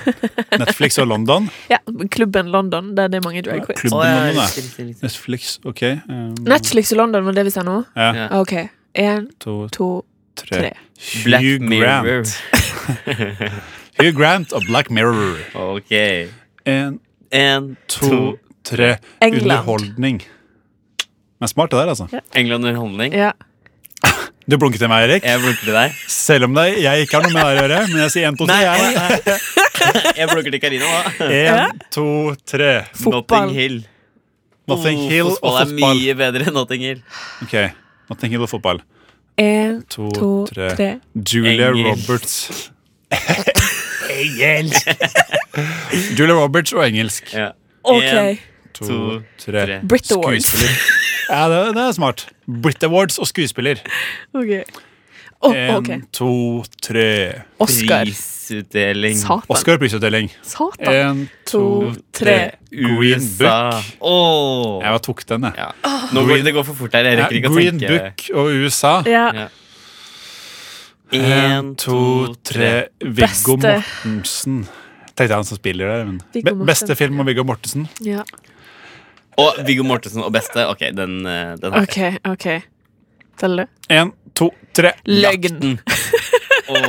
Netflix og London. Ja, klubben London, der det er mange drag queens. Klubben Å, ja, London, riktig, da. riktig, riktig. Netflix, OK. Um, Netflix i London, var det vi sa nå? ja. Ja. Ah, OK. Én, To, to, tre. tre. Black Hugh Mirror. Grant. Hugh Grant og Black Mirror. Ok. En, Én, to, to tre. England. Underholdning. Men smart, det der, altså. England underholdning. Ja. Du blunket til meg, Erik. Jeg blunker til deg. Selv om det, jeg ikke har noe med det her å gjøre, men jeg sier en, to, Nei, tre. nei, nei. jeg [laughs] blunker til Karina, da. En, to, tre. Fotball. Notting Hill. Notting Oh, Hill og fotball er fotball. mye bedre enn Notting Hill. Ok, Notting Hill og fotball. Én, To, to, tre. tre. Julia Engelsk. [laughs] Roberts. engelsk! [laughs] Julia Roberts og engelsk. Ja. En, OK. To, To, tre. tre. Brit Awards. Skuespiller. [laughs] Ja, det, det er smart. Brit Awards og skuespiller. Ok. Å, En, [laughs] OK. to, tre. Oscar. Prisutdeling. Satan. Oscar-prisutdeling. Satan. En, To, to, tre. Green USA. Book. Åh. Jeg bare tok den, jeg. Ja. Nå går det går for fort her. Jeg Ja, rekker ikke å Green tenke. Book og USA. Ja. Ja. En, to, tre. Viggo Beste. Mortensen. Tenkte jeg han som spiller der. Men. Viggo Be beste Mortensen. film om Viggo Mortensen. ja. Og Viggo Mortensen og Beste. Ok, den, eh, den har jeg. OK, OK. Teller du? En, to, tre. Løgn. Åh.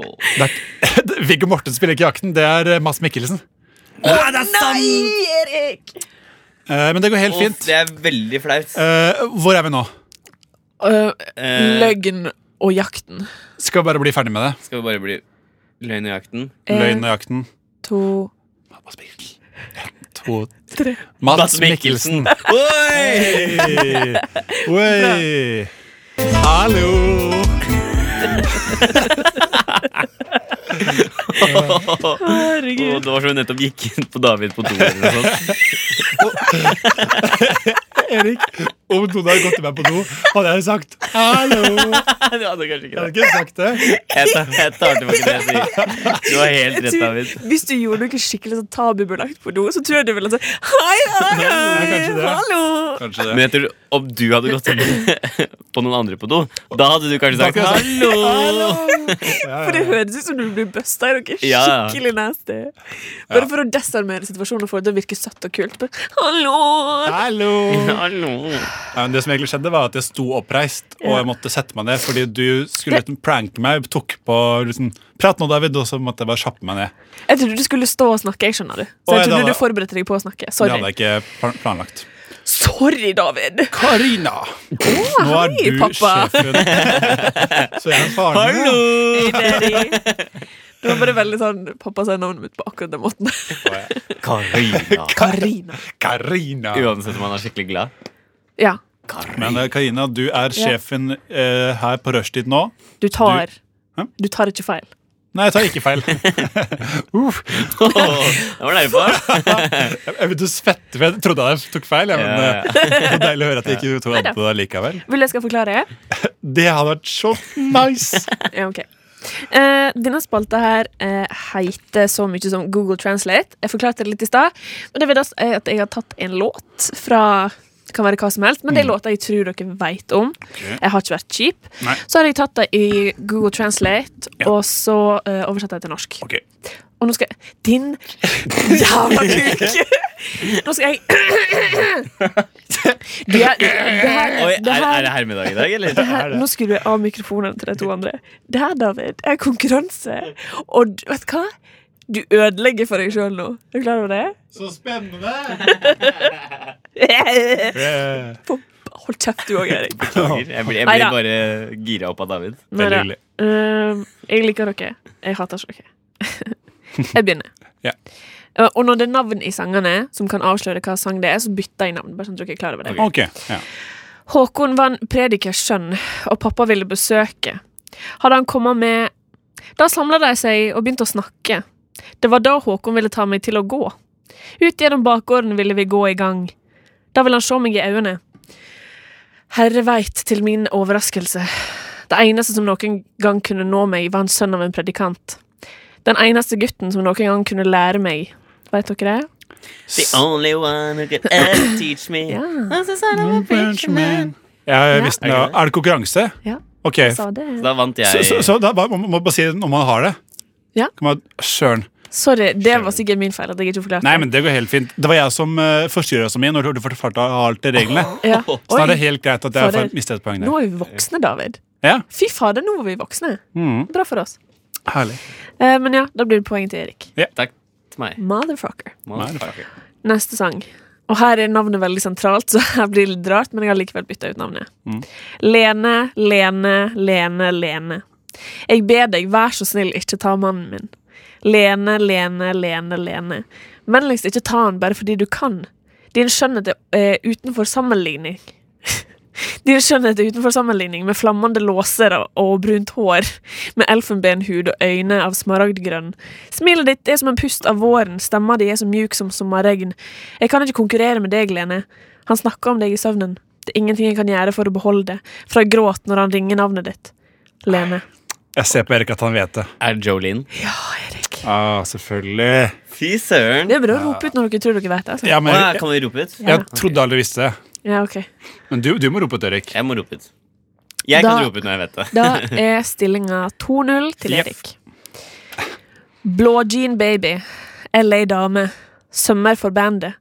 Det er ikke- [laughs] Viggo Mortensen spiller ikke Jakten, det er eh, Mads Mikkelsen. Nei, det er sant! Erik! Eh, men det går helt Åh, fint. Det er veldig flaut. Eh, hvor er vi nå? Øh, Eh, løgn og jakten. Skal vi bare bli ferdig med det? Skal vi bare bli løgn i jakten? Løgn Én, og jakten. to, Mads Mikkelsen. En, to, tre. Mads Mikkelsen. Oi! Hey. Oi. Hallo. Åh, Herregud. det var som vi nettopp gikk inn på David på do. eller noe [laughs] sånt. Erik, om noen hadde gått til meg på do, hadde jeg sagt hallo. Du hadde kanskje Jeg ikke det. hadde ikke sagt det. Jeg tar, jeg tar tilbake det jeg sier. Du har helt Jeg rett, tror, David. hvis du gjorde noe skikkelig sånn tabubelagt på do, så tror jeg du ville sagt hei, hei, hei, kanskje det. hallo. Kanskje Men jeg tror om du hadde gått inn [laughs] på noen andre på do, da hadde du kanskje sagt Da kunne hallo. For det høres ut som du blir busta i noe Ja, ja. skikkelig nasty. Bare for å desarmere situasjonen og få det til å virke søtt og kult. Bare, hallo! Hallo! [laughs] Hallo. Ja, men det som egentlig skjedde var at Jeg sto oppreist og jeg måtte sette meg ned fordi du skulle liksom pranke meg. tok på liksom, Prat nå, David, og så måtte jeg bare kjappe meg ned. Jeg trodde du skulle stå og snakke. jeg skjønner det Så Oi, da jeg trodde var- du forberedte deg på å Det snakke. hadde Sorry, jeg ikke plan- planlagt. Sorry David! Karina! Nå er hei, du pappa. [laughs] sjefen. Så jeg er faren din. ja. Hey, daddy. Det var bare veldig sånn Pappa sier navnet mitt på akkurat den måten. Og jeg, Karina. [laughs] Karina. Karina! Uansett om han er skikkelig glad. [laughs] Ja. Men eh, Karina, du er Ja. sjefen eh, her på rushtid nå. Du tar, Hæ? du tar ikke feil. Nei, jeg tar ikke [laughs] feil. Uff. Åh, det var [laughs] nærmere. Jeg jeg begynte å svette, for jeg trodde jeg tok feil. jeg, Men Ja, ja. eh, det var deilig å høre at jeg [laughs] ikke tok Neida. an på det likevel. Vil jeg skal forklare? Det hadde vært så nice! Ja, ok. Eh, denne spalta her eh, heter så mye som Google Translate. Jeg forklarte det litt i stad. Men det vil da si at jeg har tatt en låt fra det kan være hva som helst, men Mm. det er låter jeg tror dere vet om. Jeg har ikke vært kjip. Nei. Så har jeg tatt det i Google Translate, Ja. og så eh, oversatt det til norsk. Ok, Og nå skal jeg Din [laughs] jævla kuk! Nå skal [laughs] jeg Du er- det her- Oi, det er, her- er det hermiddag i [laughs] dag, eller? det her, nå skulle jeg av mikrofonene til de to andre. Det her, David, er konkurranse. Og du- vet du hva? Du ødelegger for deg sjøl nå. Er du klar over det? Så spennende! Hold kjeft, du òg, Erik. Beklager. Jeg blir, jeg blir Neida. bare gira opp av David. Veldig Neida. hyggelig. Ehm, jeg liker dere. Jeg hater ikke dere. jeg begynner. Ja. Eh, Og når det er navn i sangene som kan avsløre hva sang det er, så bytter jeg navn. Bare sånn at dere er klar over det. Ok. Ok, ja. Håkon var en predikers sønn, og pappa ville besøke. Hadde han kommet med Da samla de seg og begynte å snakke. Det var da Håkon ville ta meg til å gå. Ut gjennom bakgården ville vi gå i gang. Da ville han se meg i øynene. Herre veit til min overraskelse. Det eneste som noen gang kunne nå meg, var en sønn av en predikant. Den eneste gutten som noen gang kunne lære meg. Veit dere det? The only one who can ever teach me. Ja, was the son of a preacher man. Jeg visste det. Ja. Er det konkurranse? Ja. Ok, jeg så, sa det. Da vant jeg. så, så da bare, man må bare si om man har det. Ja. Kan man, Søren. Sorry, det var sikkert min feil at jeg ikke forklarte. Nei, men det går helt fint. Det var jeg som uh, forstyrra så mye når du fortalte alle reglene. Ja. [laughs] Så da er det Oi, helt greit at jeg Fader. får mistet et poeng nå der. er vi voksne, David. Ja, Fy fader, nå var vi voksne. Mhm. Bra for oss. herlig. Eh, men ja, da blir det poeng til Erik. Takk til meg. Motherfucker. Motherfucker. Neste sang. Og her er navnet veldig sentralt, [laughs] så her blir det litt rart, men jeg har likevel bytta ut navnet. Mm. Lene, Lene, Lene, Lene. Jeg ber deg, vær så snill, ikke ta mannen min. Lene, Lene, Lene, Lene. Vennligst ikke ta han bare fordi du kan. Din skjønnhet er eh, utenfor sammenligning. Din skjønnhet er utenfor sammenligning, med flammende låser og, og brunt hår, med elfenbenhud og øyne av smaragdgrønn. Smilet ditt er som en pust av våren, stemma di er så mjuk som sommerregn. Jeg kan ikke konkurrere med deg, Lene. Han snakker om deg i søvnen. Det er ingenting jeg kan gjøre for å beholde det, fra gråt når han ringer navnet ditt. Lene. Jeg ser på Erik at han vet det. Er det Jolene? Ja, Erik. Ah, selvfølgelig. Fy søren. Det er bra å rope ut når dere tror dere vet det. Altså. Ja, men, Å, ja, jeg, kan vi rope ut? jeg trodde alle visste det. Ja, ok. Men du, du må rope ut, Erik. Jeg må rope ut. Jeg kan Da- rope ut når jeg vet det. Da er stillinga 2-0 til Jepp. Erik. Blå jean baby, LA dame, sømmer for bandet.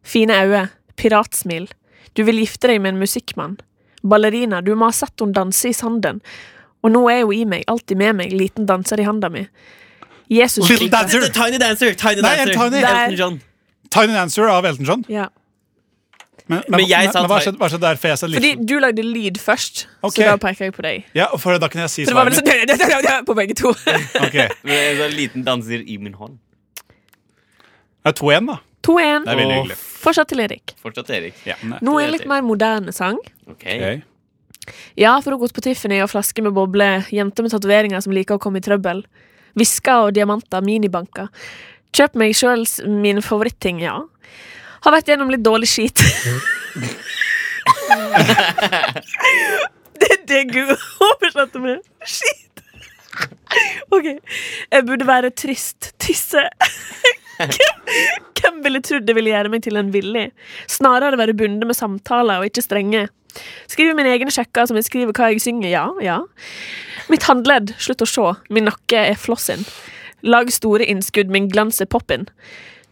Fine øyne, piratsmil. Du vil gifte deg med en musikkmann. Ballerina, du må ha sett hun danse i sanden. Og nå er hun i meg, alltid med meg, liten danser i handa mi. Jesus Little skriker. Dancer! Tiny Dancer! Tiny Nei, Dancer. Tiny. Elton John. Tiny Dancer av Elton John. Ja. Men, Men jeg sa hva Ty- skjedde- hva skjedde der? For jeg sa Fordi Little du lagde lyd først, Ok. så da peker jeg på deg. Ja, og for da kan jeg si Så det var svaret. vel sånn [laughs] på begge to. Ok, Det Men jeg sa sånn liten danser i min hånd. er to igjen, da. Det er 2-1. veldig Åh. hyggelig. Fortsatt til Erik. Fortsatt Erik. Ja. Nå er en litt mer moderne sang. Ok. Ok. Ja, for hun har gått på Tiffany og flaske med boble, jenter med tatoveringer som liker å komme i trøbbel, visker og diamanter, minibanker. Kjøp meg sjøl min favoritting, ja. Har vært gjennom litt dårlig skit. det er det Google oversatte med. Skit. OK. Jeg burde være trist. Tisse. Hvem ville trodd det ville gjøre meg til en villig? Snarere være bundet med samtaler og ikke strenge. Skriver mine egne sjekker som jeg skriver hva jeg synger. Ja, ja. Mitt håndledd, slutt å se. Min nakke er flossen. Lag store innskudd, min glans er poppen.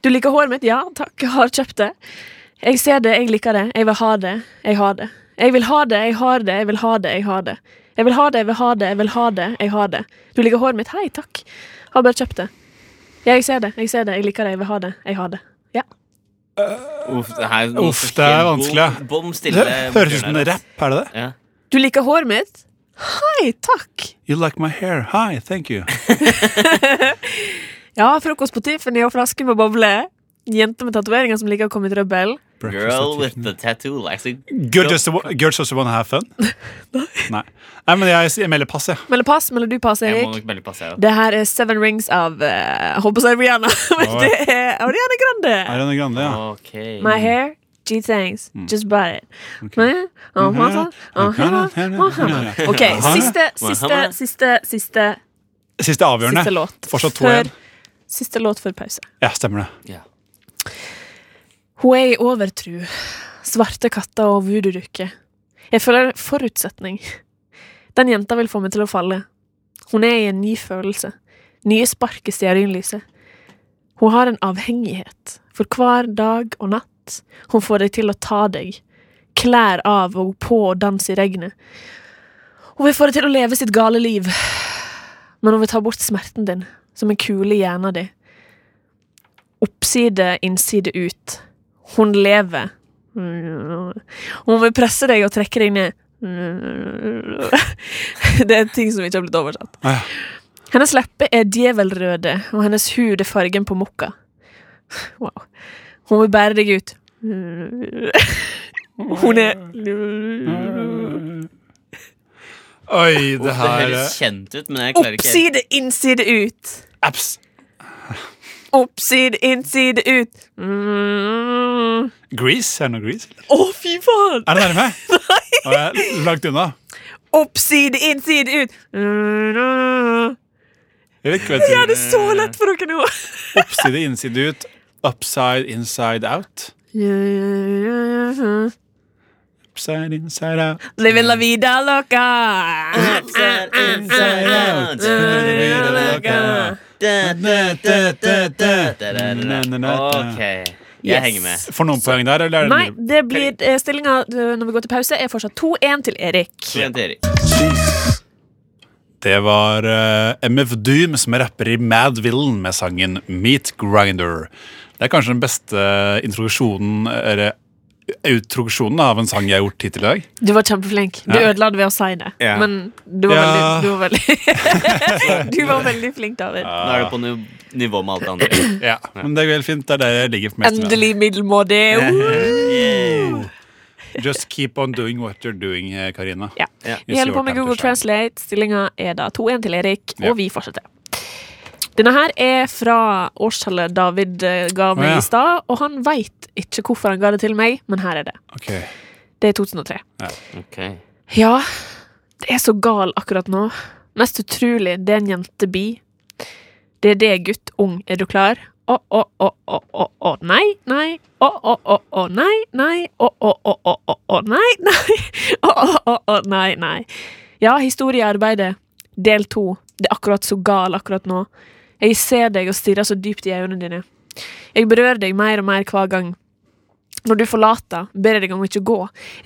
Du liker håret mitt? Ja takk, jeg har kjøpt det. Jeg ser det, jeg liker det, jeg vil ha det, jeg har det. Jeg vil ha det, jeg har det, jeg vil ha det, jeg har det. Jeg vil ha det, jeg vil ha det, jeg vil ha det, jeg har det. Du liker håret mitt? Hei, takk. Har bare kjøpt det. Ja, jeg ser det, jeg ser det, jeg liker det, jeg vil ha det, jeg har det. Ja. Uff, det, her, Uff, det er vanskelig, ja. Bom, bom stille. Det høres ut som en rapp, er det det? Ja. Du liker håret mitt? Hei, takk. You like my hair. Hi, thank you. Ja, frokost på Tiffany og flaske med boble. Jenter med tatoveringer som liker å komme i trøbbel. Breakfast Girl at with Tiffany. the tattoo likes it. Girl just, girl just wanna have fun? Nei. Nei, men jeg, jeg melder pass, jeg. Melder pass, melder du pass, Jeg må Erik? nok melde pass, jeg også. Det her er Seven Rings av eh, Jeg holdt på å si Rihanna, [laughs] men Oi. det er Ariana Grande. Ariana Grande, ja. Ok. My hair, gee thanks, just bought it. Men, oh, Mohammed, oh, Mohammed, Mohammed. Ok, siste, siste, Mohammed. siste, siste, Siste avgjørende. siste låt. Fortsatt to Før- igjen. Siste låt før pause. Ja, stemmer det. Ja. Hun er i overtru. Svarte katter og voodoo-dukker. Jeg føler en forutsetning. Den jenta vil få meg til å falle. Hun er i en ny følelse. Nye spark i stearinlyset. Hun har en avhengighet. For hver dag og natt. Hun får deg til å ta deg. Klær av og på og danse i regnet. Hun vil få deg til å leve sitt gale liv. Men hun vil ta bort smerten din, som en kule i hjernen din. Oppside, innside ut. Hun lever. Hun vil presse deg og trekke deg ned. [laughs] Det er ting som ikke har blitt oversatt. Ah, ja. Hennes lepper er djevelrøde, og hennes hud er fargen på mokka. Wow. Hun vil bære deg ut. Hun er Oi, det Det her eh, høres kjent ut, men jeg klarer ikke helt. Oppside, innside, ut. Apps. Oppside, innside, ut. Mm. Grease? Er det noe Grease? eller? Å, fy faen! Er det nærme? Nei. Jeg er langt unna. Oppside, innside, ut. Jeg vet ikke hva Ja, jeg det er så lett for dere nå! tror. Oppside, innside ut. Upside, inside out. Upside, inside out. Living la vida loca! Upside, inside ah, out. Da, da, da, da, da, da, da, ah, da, da. Ok, jeg henger med. Får noen poeng der, eller er det Nei, det blir eh, stillinga eh, når vi går til pause, er fortsatt 2-1 til Erik. Så vent, Erik. Det var eh, MF Doom som rapper i Mad Villain med sangen Meat Grinder. Det er kanskje den beste introduksjonen eller Introduksjonen av en sang jeg har gjort hittil i dag. Du var kjempeflink. Du Ja. ødela det ved å si det, Ja. men du var Ja. veldig Du var veldig, [laughs] du var veldig flink, David. Nå er det på niv- nivå med alt det andre. Ja, Men det er helt fint. Det er der jeg ligger mest med. Endelig middelmådig. Woo! Just keep on doing what you're doing, eh, Karina. Ja. Ja. Vi holder på med Google Translate. Stillinga er da 2-1 til Erik, Ja. og vi fortsetter. Denne her er fra årstallet David eh, ga meg Å, ja. i stad, og han veit ikke hvorfor han ga det til meg, men her er det. Ok. Det er 2003. Ok. Ja, det er så gal akkurat nå. Mest utrolig, det er en jente bi. Det er det, gutt, ung, er du klar? Å, å, å, å, å, å, nei, nei. Å, å, å, å, nei, nei. Å, å, å, å, å, å, nei, [laughs] nei. Å, å, å, å, nei, nei. Ja, historiearbeidet. Del to. Det er akkurat så gal akkurat nå. Jeg ser deg og stirrer så dypt i øynene dine. Jeg berører deg mer og mer hver gang. Når du forlater, ber jeg deg om ikke å gå.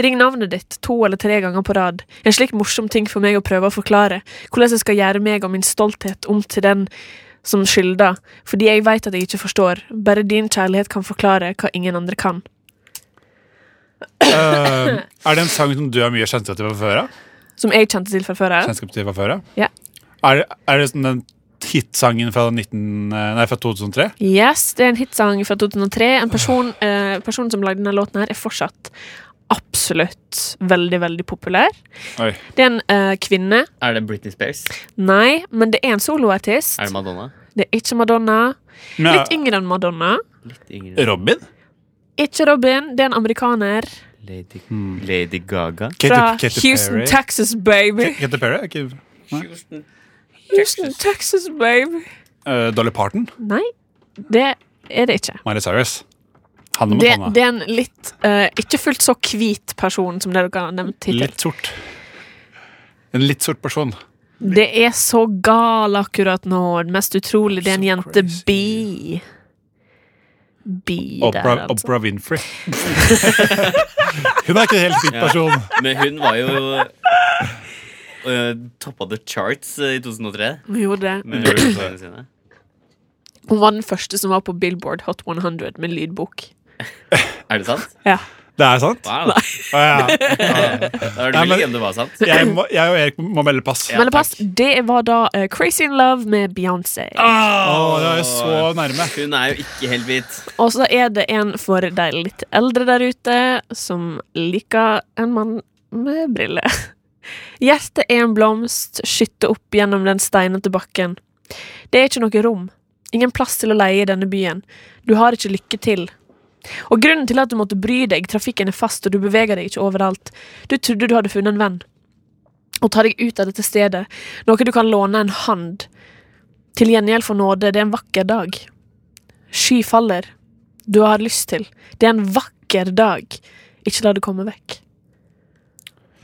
Ring navnet ditt to eller tre ganger på rad. En slik morsom ting for meg å prøve å forklare. Hvordan jeg skal gjøre meg og min stolthet om til den som skylder. Fordi jeg veit at jeg ikke forstår. Bare din kjærlighet kan forklare hva ingen andre kan. Eh, er det en sang som du har mye kjennskap til fra før av? Som jeg kjente til fra før av. Kjennskap til fra før av? Ja. Er, det- er det sånn den hitsangen fra, 19, eh, nei, fra 2003? Yes, det er en hitsang fra 2003. En person, eh, person som lagde denne låten her, er fortsatt absolutt veldig, veldig populær. Oi. Det er en eh, kvinne. Er det Britney Spears? Nei, men det er en soloartist. Er det Madonna? Det er ikke Madonna. Men, Litt yngre enn Madonna. Litt yngre. Robin? Ikke Robin, det er en amerikaner Lady, Lady Gaga? fra Katy- Katy Houston, Perry? Texas, baby. Ka- Katy Perry? er Ikke, Houston, Texas, baby. eh, Dolly Parton? Nei, det er det ikke. Miley Cyrus? Hanne Det, Montana? det er en litt eh, ikke fullt så hvit person som det dere har nevnt hittil. litt sort. En litt sort person. Det er så gal akkurat nå. Det mest utrolig, det er en So jente crazy. bi. Bi der, Oprah, altså. Oprah Winfrey. [laughs] Hun er ikke en helt hvit person. Men hun var jo eh, uh, toppa the charts eh, i 2003. Hun gjorde det. [coughs] Med låtene sine. Hun var den første som var på Billboard Hot 100 med lydbok. Er det sant? Ja. Det er sant? Wow. Å, ja. Da var det Nei, men- mulig om det var sant. jeg, må, jeg og Erik må melde pass. Ja. Men det pass, det var da eh, Crazy in Love med Beyoncé. Å, det er jo så nærme. Hun er jo ikke helt hvit. Og så er det en for de litt eldre der ute som liker en mann med briller. [laughs] Hjertet er en blomst, skytte opp gjennom den steinete bakken. Det er ikke noe rom. Ingen plass til å leie i denne byen. Du har ikke lykke til. Og grunnen til at du måtte bry deg, trafikken er fast og du beveger deg ikke overalt. Du trodde du hadde funnet en venn. Og ta deg ut av dette stedet, noe du kan låne en hand. Til gjengjeld for nåde, det er en vakker dag. Sky faller. Du har lyst til. Det er en vakker dag. Ikke la det komme vekk.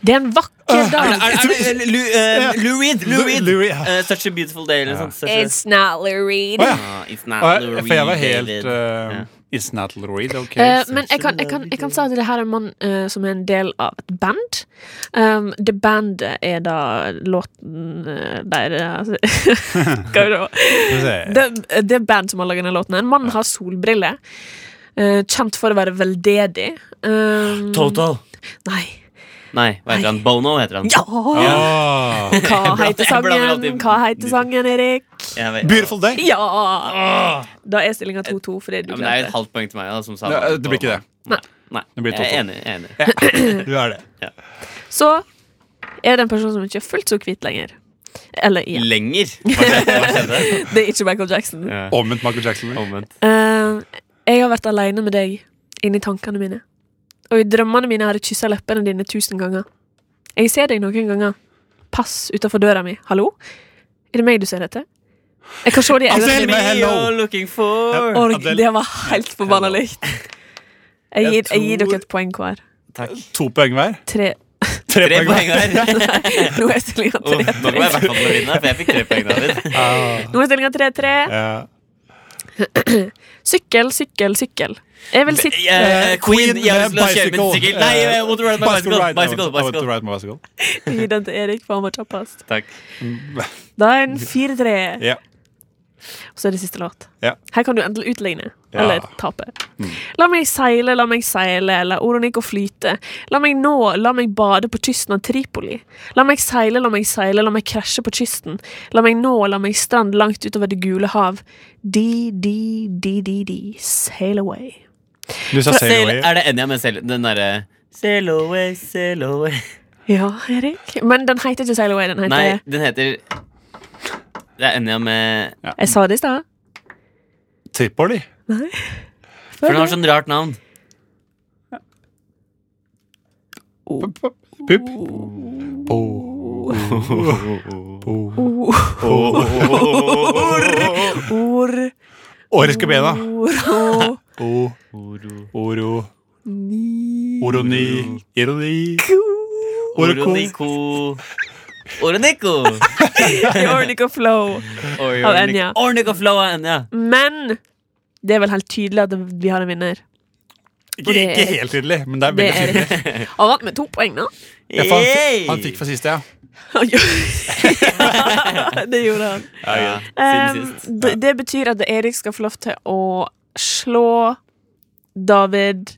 Det Øh, er en vakker dag. eh, Lou Reed! Lou Reed. Lou Reed, ja. Eh, such a beautiful day, eller noe sånt. Such a- not Reed. Å, ja. Ah, it's not Å, Lou jeg- For jeg var Reed, helt David. uh, Ja. It's not Lou Reed, ok? Eh, men jeg kan, jeg, kan, jeg kan si at det her er en mann eh, som er en del av et band. Um, det bandet er da låten uh, Nei, det er [laughs] Skal vi se. Skal vi se. Det, det er band som har laget denne låten. En mann har solbriller. eh, kjent for å være veldedig. Um, Total. Nei. Nei, hva heter han? Bono heter han. Ja! [laughs] Åh. Hva blander- heter jeg blander sangen? alltid- Hva heter sangen, Erik? Jeg vet- Beautiful day. Ja! Da er stillinga 2-2 fordi du Ja, men det er jo et glemte. halvt poeng til meg. Da, som sa Nei, det blir ikke det. Nei, Nei. Det blir jeg er total. enig. enig. Du er det. Så er det en person som ikke er fullt så hvit lenger. Eller igjen. Lenger. Hva skjedde? Hva skjedde? Det er ikke Michael Jackson. Omvendt Michael Jackson. Omvendt. Eh, jeg har vært aleine med deg inni tankene mine. Og i drømmene mine har jeg kyssa leppene dine tusen ganger. Jeg ser deg noen ganger. Pass utafor døra mi. Hallo? Er det meg du ser etter? Jeg kan se det i Altså, øynene Hello. Me dine. you're looking for. Og Adele- det var helt forbanna Hello. likt. Jeg gir, jeg gir tror- dere et poeng hver. Takk. To poeng hver. [laughs] Tre Tre Tre poeng [laughs] hver. Nå er stillinga Oh, nå må jeg i 3-3. hvert fall vinne, for jeg fikk tre [laughs] poeng, David. Ah, Nå er stillinga 3-3. ja. Eh, Sykkel, sykkel, sykkel. Jeg vil sitte Eh, Queen, jeg har lyst til å kjøre min Bicycle. Eh, sykkel. Nei, I want to ride my Bicycle bicycle. ride. Bicycle, I want to bicycle. ride my bicycle. Gi den til Erik, for han var kjappest. Takk. Da er en 4-3. Ja. Og så er det siste låt. Ja. Her kan du enten utligne Ja. eller tape. Mm. La meg seile, la meg seile, la Oronico flyte. La meg nå, la meg bade på kysten av Tripoli. La meg seile, la meg seile, la meg krasje på kysten. La meg nå, la meg strand langt utover det gule hav. Di, di, di, di, di, sail away. Du sa sail Sail, away. er det Enya med sail, den derre Sail away, sail away Ja, Erik. Men den heter ikke Sail Away. Den heter Nei, den heter Det er Enya med Jeg sa det i stad. Tripoli. For den har sånn rart navn. Pupp. Po. Po. Or, Åriske bena. [laughs] or, O. Oro. Oroni. Ironi. Oroko. Oronico. Oronico. Ornico Flow. Av Enya. Ornico Flow av Enya. Men det er vel helt tydelig at vi har en vinner. Ikke, ikke helt tydelig, men det er Det veldig er [laughs] tydelig. Erik. Han vant med to poeng, da. Ja, for han, Yay! fikk- han fikk fra siste, ja. [laughs] Ja, det gjorde han. Ja, Um, siden sist. d- det betyr at Erik skal få lov til å slå David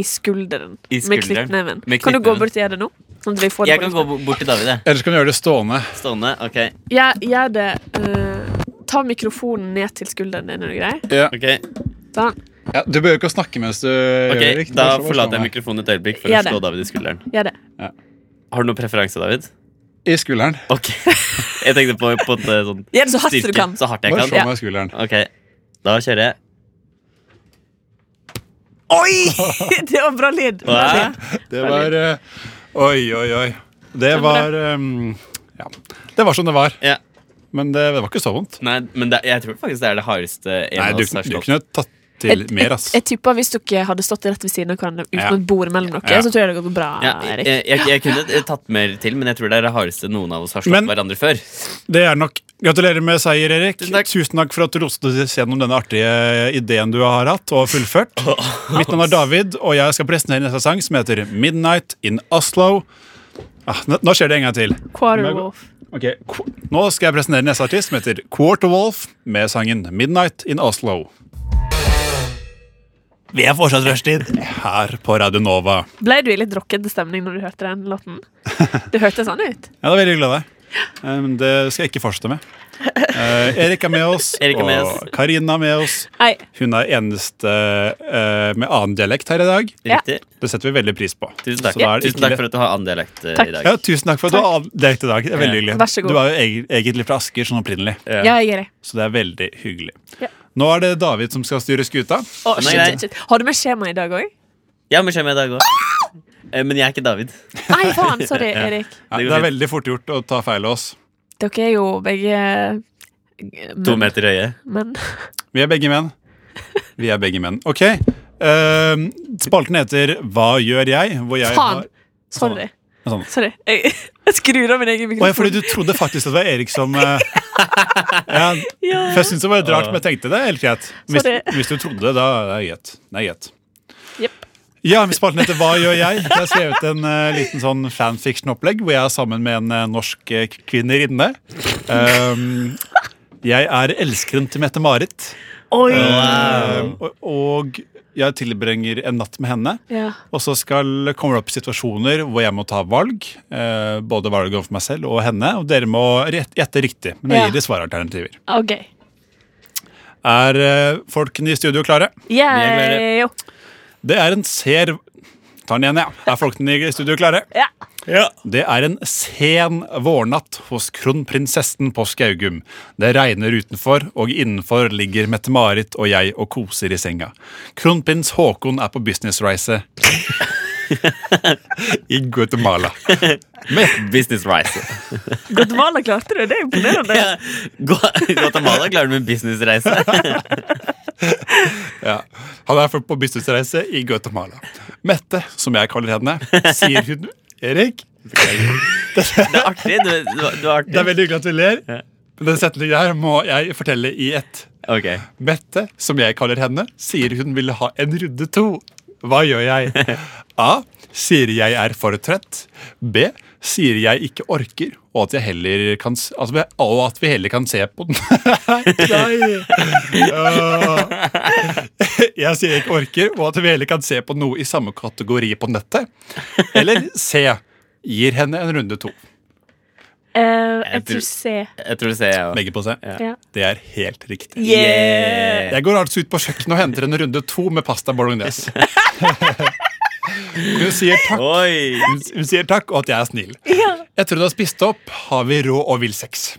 i skulderen, I med skulderen. knyttneven. Med Kan du gå knyttneven. bort og gjøre det nå? Sånn at vi får det Jeg på kan nytt. gå bo- bort til David, jeg. Ellers kan du gjøre det stående. Stående. Ok. Ja, gjør det. eh, ta mikrofonen ned til skulderen din, er du grei? Ja. Ok, Sånn. Ja, du behøver ikke å snakke mens du Ok, gjør det. Da forlater jeg mikrofonen et øyeblikk for Gjør å det. slå David i skulderen. Gjør det. Har du noen preferanse, David? I skulderen. Ok Jeg tenkte på, på et eh, sånn Gjør det så hardt som du styrke. kan. Så hardt jeg Bare kan. slå meg i skulderen. Ok, Da kjører jeg. det var bra lyd. Bra Hva? lyd. Det var eh, Oi, oi, oi. Det var ehm, Ja. Det var som det var. Ja. Men det, det var ikke så vondt. Nei, men det, jeg tror faktisk det er det hardeste en Nei, av du, oss har du slått. kunne tatt til mer, ass. Jeg tipper hvis dere hadde stått rett ved siden av hverandre uten Ja. et bord mellom dere, Ja. så tror jeg det hadde gått bra. Ja, jeg, Erik. jeg, jeg kunne eh, tatt mer til, men jeg tror det er det hardeste noen av oss har slått Men- hverandre før. Det er nok. Gratulerer med seier, Erik. Tusen takk. for at du roste oss gjennom denne artige ideen du har hatt og [laughs] fullført. Mitt navn er David, og jeg skal presentere neste sang som heter Midnight in Oslo. Ah, nå, nå skjer det en gang til. Quarter Wolf. Ok, qu- Nå skal jeg presentere neste artist, som heter Quarterwolf, med sangen Midnight in Oslo. Vi er fortsatt rushtid her på Radio Nova. Ble du i litt rockete stemning når du hørte den [laughs] låten? Det hørtes sånn ut. Ja, det er veldig hyggelig av deg. Um, det skal jeg ikke fortsette med. Eh, Erik er med oss, [laughs] Erik er med oss. og Karina er med oss. Hei. Hun er eneste eh, med annen dialekt her i dag. Ja. Riktig. Det setter vi veldig pris på. Tusen takk. Så da er det Tusen ikke takk lett- for at du har annen dialekt eh, Takk. i dag. ja, tusen takk for at du har annen dialekt i dag. Det er veldig hyggelig. Vær så god. Du er jo eg- egentlig fra Asker sånn opprinnelig, Ja, jeg er det. så det er veldig hyggelig. Ja. Nå er det David som skal styre skuta. Å, Nei, shit, nei. shit, shit. Har du med skjema i dag òg? Ja, men skjer med i dag òg. Men jeg er ikke David. Nei, faen. Sorry, Erik. [laughs] Ja, Det det går er veldig fort gjort å ta feil av oss. Dere er jo begge To menn. meter høye. Men Vi er begge menn. Vi er begge menn. OK. ehm, spalten heter Hva gjør jeg? Hvor jeg faen! har Sorry. Sånn. Sorry. Jeg, [laughs] jeg skrur av min egen Å, ja, fordi mikrofon. du trodde faktisk at det var Erik som eh, [laughs] ja, Ja. For jeg syntes det var litt rart, men jeg tenkte det er helt greit. Hvis, Sorry. hvis du trodde det, da er det greit. Det er greit. Jepp. Ja, vi spalten heter Hva gjør jeg? Jeg har skrevet en eh, liten sånn fanfiction-opplegg hvor jeg er sammen med en eh, norsk eh, kvinnerinne. Um, jeg er elskeren til Mette-Marit, Oi! um, og, og jeg tilbringer en natt med henne. Ja. Og så skal, kommer det opp situasjoner hvor jeg må ta valg. Eh, både valg overfor meg selv og henne. Og dere må rett- gjette riktig. Men jeg Ja. gir dere svaralternativer. OK. Er eh, folkene i studio klare? glade. Yeah. Det er en ser... Ta den igjen, ja. Er folkene i studio klare? Ja. Ja. Det er en sen vårnatt hos kronprinsessen på Skaugum. Det regner utenfor, og innenfor ligger Mette-Marit og jeg og koser i senga. Kronprins Haakon er på businessreise. I Guatemala. Business rise. [laughs] Guatemala klarte det. Det er imponerende. Ja. Gu- Guatemala klarer du med businessreise. Ja. Han er på bussreise i Guatemala. Mette, som jeg kaller henne, sier hun Erik, Det er artig. Du, du, du er det er artig. veldig hyggelig at du ler, men den setningen her må jeg fortelle i ett. Ok. Mette, som jeg kaller henne, sier hun ville ha en runde to. Hva gjør jeg? A. Sier jeg er for trett. B. Sier jeg ikke orker, og at, jeg heller kan, s- altså, vi- og at vi heller kan se på den. Nei! Åh. [laughs] Jeg sier ikke orker, og at vi heller kan se på noe i samme kategori på nettet. Eller C. Gir henne en runde to. Eh, jeg Jeg tror- tror C. Jeg tror du ser jeg òg. Legger på seg. Ja. Det er helt riktig. Yeah. Jeg går altså ut på kjøkkenet og henter en runde to med pasta bolognese. Hun sier takk, Oi. hun, hun sier takk og at jeg er snill. Etter hun har spist opp, har vi rå og vill sex.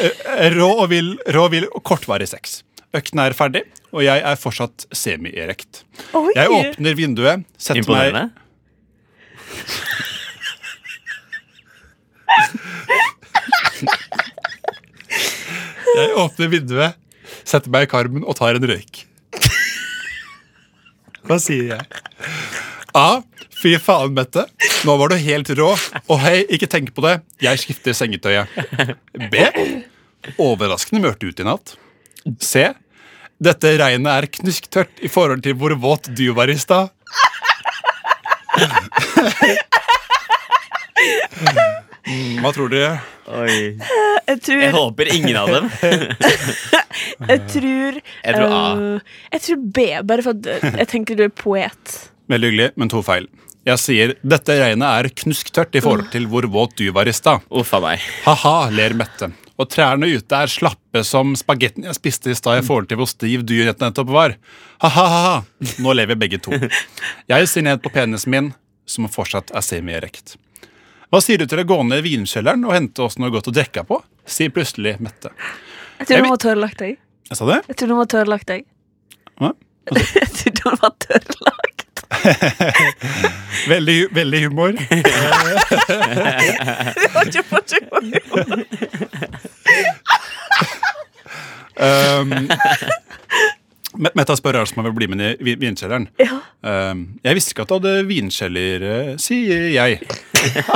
Eh, Rå og vill, rå og vill og kortvarig sex. Økten er ferdig, og jeg er fortsatt semi-erekt. Oi. Jeg åpner vinduet, setter meg Imponerende. Jeg åpner vinduet, setter meg i karmen og tar en røyk. Hva sier jeg? A. Fy faen, Mette. Nå var du helt rå. Og hei, ikke tenk på det. Jeg skifter sengetøyet. B. Overraskende mørkt ut i natt. C. Dette regnet er knusktørt i forhold til hvor våt du var i stad. Mm, Hva tror dere? Oi. Jeg Jeg tror, håper ingen av dem. jeg tror Jeg tror A. eh, Jeg tror B, bare for at eh, jeg tenker du er poet. Veldig hyggelig, men to feil. Jeg sier dette regnet er knusktørt i forhold til hvor våt du var i stad. Uff a meg. Ha-ha, ler Mette. Og trærne ute er slappe som spagetten jeg spiste i stad i forhold til hvor stiv du rett nettopp var. Ha-ha-ha. Nå lever begge to. Jeg ser ned på penisen min, som fortsatt er semi-erekt. Hva sier du til å gå ned i vinkjelleren og hente oss noe godt å drikke på? sier plutselig Mette. Jeg tror Jeg noen vet- har tørrlagt deg. Jeg sa det? Jeg tror noen har tørrlagt deg. Hva? [laughs] Jeg tror noen har tørrlagt. Veldig, veldig humor. Det var ikke forsøk på humor. Um, [laughs] Met- Mette spør altså om jeg vil bli med ned i vin- vinkjelleren. Ja. Um, jeg visste ikke at du hadde vinkjeller, eh, sier jeg.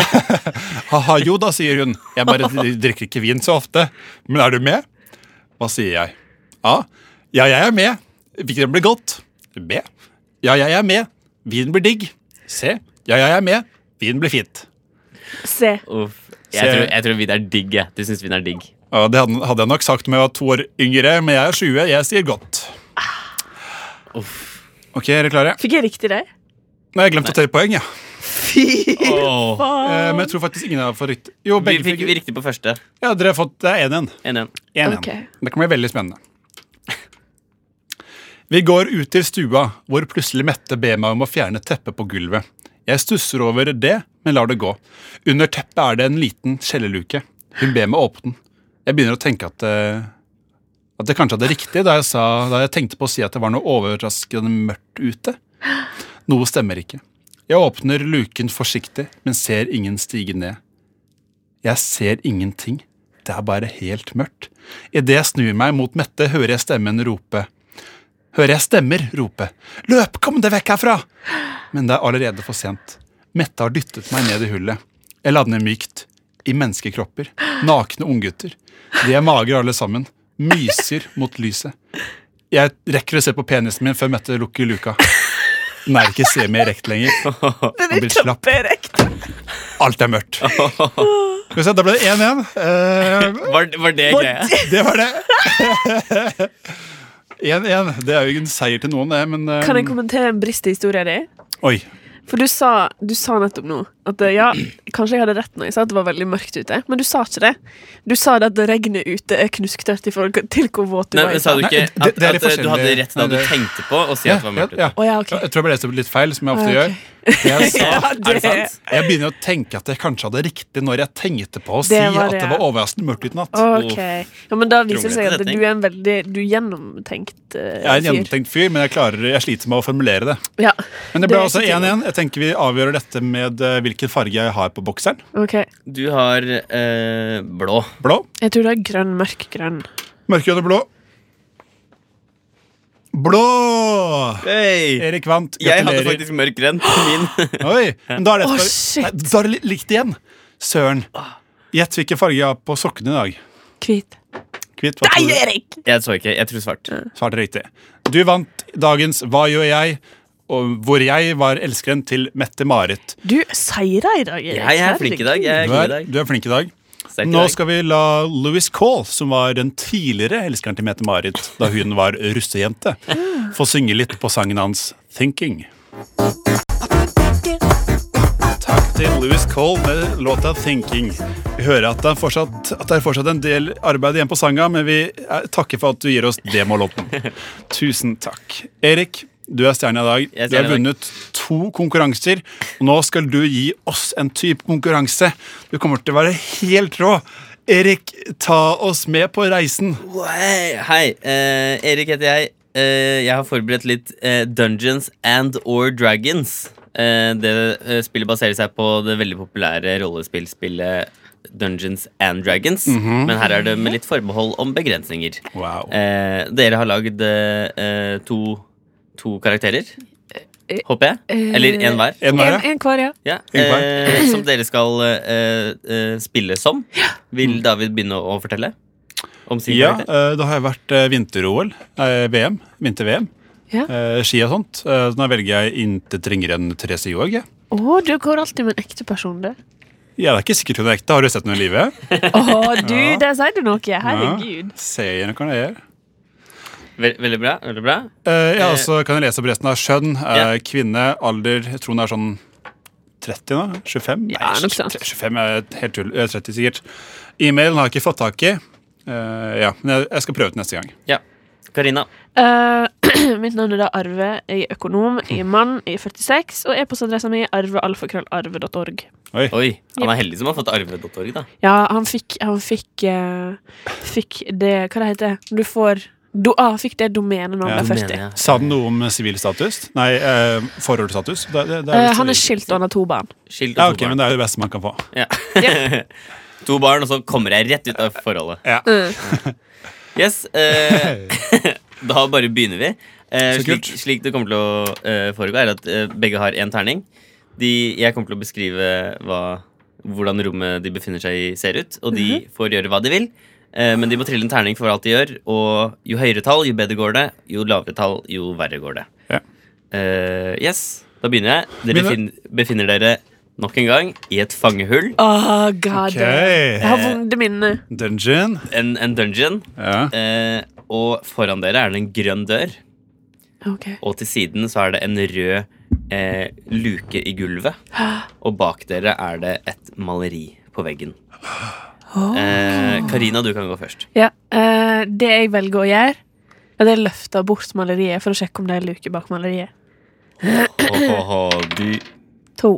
[laughs] Haha, jo da, sier hun. Jeg bare drikker ikke vin så ofte. Men er du med? Hva sier jeg? A. Ja, jeg er med. Vinen blir godt. B. Ja, jeg er med. Vinen blir digg. C. Ja, jeg er med. Vinen blir fint. [laughs] Se. Uff. Se. Jeg tror, jeg tror Vidar er digg. jeg. Du syns Vidar er digg. Ja, det hadde hadde jeg nok sagt om jeg var to år yngre, men jeg er 20. Jeg sier godt. Ok, er dere klare? Fikk jeg riktig det? Nå har jeg glemt å telle poeng, ja. Fy Åh. Eh, faen! men jeg tror faktisk ingen har fått riktig. Jo, Vi begge fikk fikk riktig på første. Ja, dere har fått det er 1-1. 1-1. 1-1. Ok. Det kan bli veldig spennende. Vi går ut til stua, hvor plutselig Mette ber meg om å fjerne teppet på gulvet. Jeg stusser over det, men lar det gå. Under teppet er det en liten kjellerluke. Hun ber meg åpne den. Jeg begynner å tenke at, eh, at jeg kanskje hadde riktig da jeg, sa, da jeg tenkte på å si at det var noe overraskende mørkt ute. Noe stemmer ikke. Jeg åpner luken forsiktig, men ser ingen stige ned. Jeg ser ingenting. Det er bare helt mørkt. Idet jeg snur meg mot Mette, hører jeg stemmen rope. Hører jeg stemmer rope. Løp, kom deg vekk herfra! Men det er allerede for sent. Mette har dyttet meg ned i hullet. Jeg lander mykt. I menneskekropper. Nakne unggutter. De er magre alle sammen. Myser mot lyset. Jeg rekker å se på penisen min før Mette lukker luka. Den er ikke semirekt lenger. Den Han er blir slapp. kjemperekt. Alt er mørkt. Skal vi se, Da ble det 1-1. Eh, Var, var det greia? Det var det. [laughs] 1-1. Det er jo ikke en seier til noen, det, men eh, Kan jeg kommentere en brist i historien din? Oi. For du sa, du sa nettopp nå at eh, ja, kanskje jeg hadde rett når jeg sa at det var veldig mørkt ute, men du sa ikke det. Du sa det at regnet ute er knusktørt i forhold til hvor våt du Nei, var. men Sa du Nei, ikke det- at, det er at litt eh, du hadde forskjellig. rett da Nei, du det- tenkte på å si Ja, at det ja, var mørkt ja. ute? Å, ja, ok. Jeg tror jeg ble lest opp litt feil, som jeg ofte Ah, ok. gjør. Jeg, sa, [laughs] Ja, Er det det- sant? jeg begynner å tenke at jeg kanskje hadde riktig når jeg tenkte på å si Det var at det, det ja. var overraskende mørkt ute i natt. Ok. Ja, men da viser det seg at Kronglete du setning. er en veldig Du er gjennomtenkt eh, Jeg er en fyr. gjennomtenkt fyr, men jeg, klarer, jeg sliter med å formulere det. Ja. Men det Det ble er altså ikke 1-1. Jeg tenker vi avgjør dette med eh, hvilken farge jeg har på bokseren. Ok. Du har eh, blå. Blå. Jeg tror det er grønn, mørk grønn. Mørkegrønn og blå. Blå! Hey. Erik vant. Jeg hadde Gratulerer. faktisk mørk grønn på min. Oi, men da er det Å, etterpå- shit. Nei, Da er det li- likt igjen. Søren. Gjett hvilken farge jeg har på sokkene i dag. Hvit. Hvit. Hva tror Nei, du? Erik! Jeg så ikke. Jeg tror svart. Svart er riktig. Du vant dagens Hva gjør jeg? Og hvor jeg var elskeren til Mette-Marit. Du seira i dag, Erik. Jeg er flink i dag. Jeg er Du, god i er- dag. du er flink i dag. Sterk i Nå dag. skal vi la Louis Cole, som var den tidligere elskeren til Mette-Marit da hun var russejente, få synge litt på sangen hans 'Thinking'. Takk til Louis Cole med låta 'Thinking'. Vi hører at det er fortsatt, at det er fortsatt en del arbeid igjen på sanga, men vi eh, takker for at du gir oss [laughs] demolåten. Tusen takk. Erik, du er stjerne i Jeg er dag. Du stjerne i har dag. vunnet to konkurranser. og Nå skal du gi oss en type konkurranse. Du kommer til å være helt rå. Erik, ta oss med på reisen. Wow. Hei, eh, Erik heter jeg. Eh, jeg har forberedt litt eh, Dungeons and or Dragons. Eh, det eh, spillet baserer seg på det veldig populære rollespillspillet Dungeons and Dragons. Men her er det med litt forbehold om begrensninger. Mhm. Wow. Eh, dere har lagd eh, to, to karakterer, håper jeg? Eller én hver? En En, hver, ja. en hver, ja. Ja, eh, En hver. eh, som dere skal eh, eh, spille som. Vil David begynne å fortelle om sin Ja, karakter? eh, det har jo vært eh, vinter-OL, eh, VM, vinter-VM, Ja. eh, ski og sånt. Eh, Så nå velger jeg intet ringere enn Therese Johaug. jeg. Å, du går alltid med en ekte person, du. Ja, det er ikke sikkert hun er ekte. Har du sett henne i live? Å, du, der sier du noe. Herregud. Ja, ser jeg noe jeg gjør. Ve veldig bra. veldig bra Eh, ja, Eh, og så kan jeg lese opp resten av kjønn. Eh, ja. Kvinne, alder, jeg tror hun er sånn 30 nå? 25? Nei, Ja, nok sånt. 25 er helt tull. Eh, 30 sikkert. E-mailen har jeg ikke fått tak i. Eh, ja, men jeg, jeg skal prøve ut neste gang. Ja. Karina. Eh, [clears throat] mitt navn er da Arve. Jeg er økonom, jeg er mann, jeg er 46, og e-postadressen min er arvealfakrøllarve.org. Oi. Oi, han er heldig som har fått arve.org, da. Ja, han fikk Han fikk, eh, fikk det Hva det heter det? Når Du får do, ah, Han fikk det domenet når han Ja, ble 40. Mener jeg. Sa den noe om sivilstatus? Nei, eh, forholdsstatus? Det, det, det Eh, visst han er sivil- skilt og han har to barn. Skilt og Ja, to ok, men barn. det er det beste man kan få. Ja. [laughs] to barn, og så kommer jeg rett ut av forholdet. Ja. Yes, [laughs] eh, Mm. Da bare begynner vi. Eh, Så kult. slik, slik det kommer til å eh, foregå, er at eh, begge har én terning. De, jeg kommer til å beskrive hva, hvordan rommet de befinner seg i, ser ut. Og de får gjøre hva de vil, eh, men de må trille en terning for alt de gjør. Og jo høyere tall, jo bedre går det. Jo lavere tall, jo verre går det. Ja. Eh, yes, da begynner jeg. Dere Begynner. Fin, befinner dere nok en gang i et fangehull. Oh, god. Ok. Jeg har vonde minner. Dungeon. En, en dungeon. Ja. Eh, og foran dere er det en grønn dør. Ok. Og til siden så er det en rød eh, luke i [gasps] gulvet. Og bak dere er det et maleri på veggen. Eh, Karina, du kan gå først. Ja, eh, det jeg velger å gjøre, er at jeg løfter bort maleriet for å sjekke om det er luke bak maleriet. Åhåhå, du To.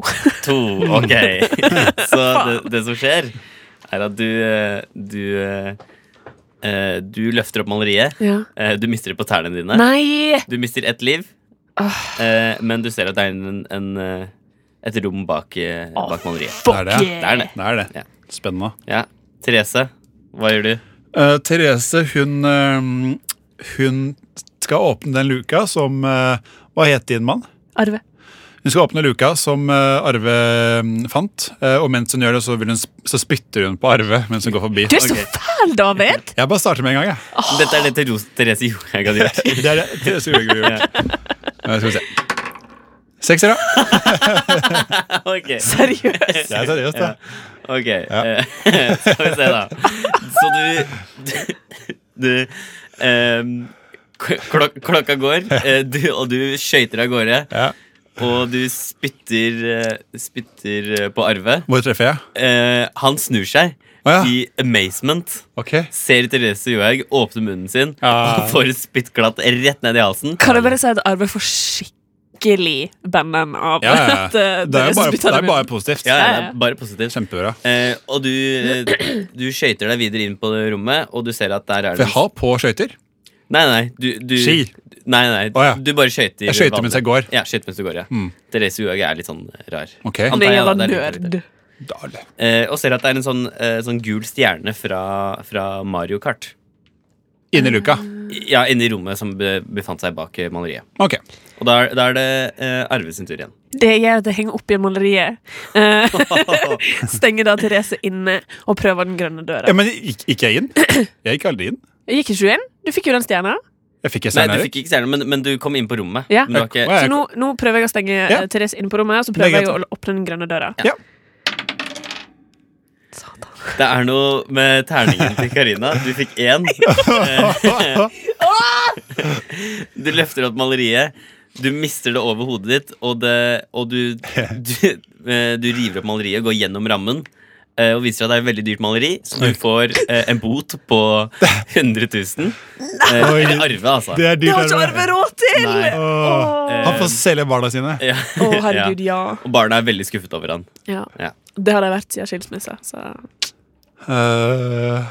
to. [laughs] Ok. [laughs] Så det, det som skjer, er at du eh, Du, eh, eh, du løfter opp maleriet. [laughs] Ja. Eh, Du mister det på tærne dine. Nei! Du mister ett liv, Åh, eh, men du ser at det er en, en, eh, et rom bak, eh, Åh, bak maleriet. fuck Det er det, ja. Det er det. Det er det. Ja. Spennende. Ja. Therese, hva gjør du? Eh, Therese, hun eh, Hun skal åpne den luka som eh, Hva het din mann? Arve. Hun skal åpne luka som eh, Arve mm, fant, eh, og mens hun gjør det, så, vil hun, sp- så spytter hun på Arve mens hun går forbi. Du er så Ok. fæl, David! Jeg bare starter med en gang, jeg. Ah. Dette er det Therese- Therese Johaug hadde gjort. [laughs] Det er det. Therese Johaug ville gjort. Eh, Skal vi se. Sekser, da. [laughs] Ok, Seriøst. Det er seriøst, det. ok. Eh, [laughs] Skal vi se, da. Så du Du ehm, k- klok Klokka går, eh, du, og du skøyter av gårde. Ja. Og du spytter, eh, spytter eh, på Arve. Hvor treffer jeg? Eh, han snur seg Å, ja. i amazement. Ok. eh, Ser Therese Johaug åpne munnen sin Ja. og får et spyttglatt rett ned i halsen. Kan jeg bare si at Arve får skikkelig banden av Ja, ja, ja. at eh, Det er dere jo bare, spytter det dem er bare ut. positivt. Ja, ja, Ja, det ja. er bare positivt. Kjempebra. Eh, og du, eh, du skøyter deg videre inn på det rommet, og du ser at der er For det jeg har på skøyter. Nei, nei, du, du Ski. Nei, nei, Å, ja. du bare skøyter. Jeg skøyter mens jeg går. Ja, skøyter mens du går, ja. Therese Johaug er litt sånn rar. Ok. Antar Han er jeg, da, jævla det er litt nerd. Dale. Eh, og ser at det er en sånn, eh, sånn gul stjerne fra, fra Mario Kart. Inn i luka. Ja, inne i rommet som be, befant seg bak eh, maleriet. Ok. Og da er, da er det eh, Arve sin tur igjen. Det gjør at jeg henger opp i maleriet. Eh, Stenger da Therese inne og prøver den grønne døra. Ja, men gikk, gikk jeg inn? Jeg gikk aldri inn. Gikk ikke du inn? Du fikk jo den stjerna. Jeg fikk jeg Nei, stjerne, du Erik. fikk ikke stjerne, men, men du kom inn på rommet. Ja. Men du har ikke, Å, Så jeg- nå, nå prøver jeg å stenge Ja. eh, Therese inne på rommet, og så Det er prøver jeg å greit. åpne den grønne døra. Ja. Satan. det er noe med terningen til Karina. Du fikk én. [laughs] Du løfter opp maleriet. Du mister det over hodet ditt, og, det, og [laughs] du, du, eh, du river opp maleriet og går gjennom rammen. eh, Og viser at det er et veldig dyrt maleri, så du får eh, en bot [laughs] på 100 000. Eh, Oi. eller arve, altså. Det er Det dyrt. har ikke Arve Arve. råd til! Nei. Åh. Eh, Han får selge barna sine. Ja. Å, herregud, ja. Ja. Og barna er veldig skuffet over han. ja. Ja. Det har de vært siden skilsmissa. Så. Eh,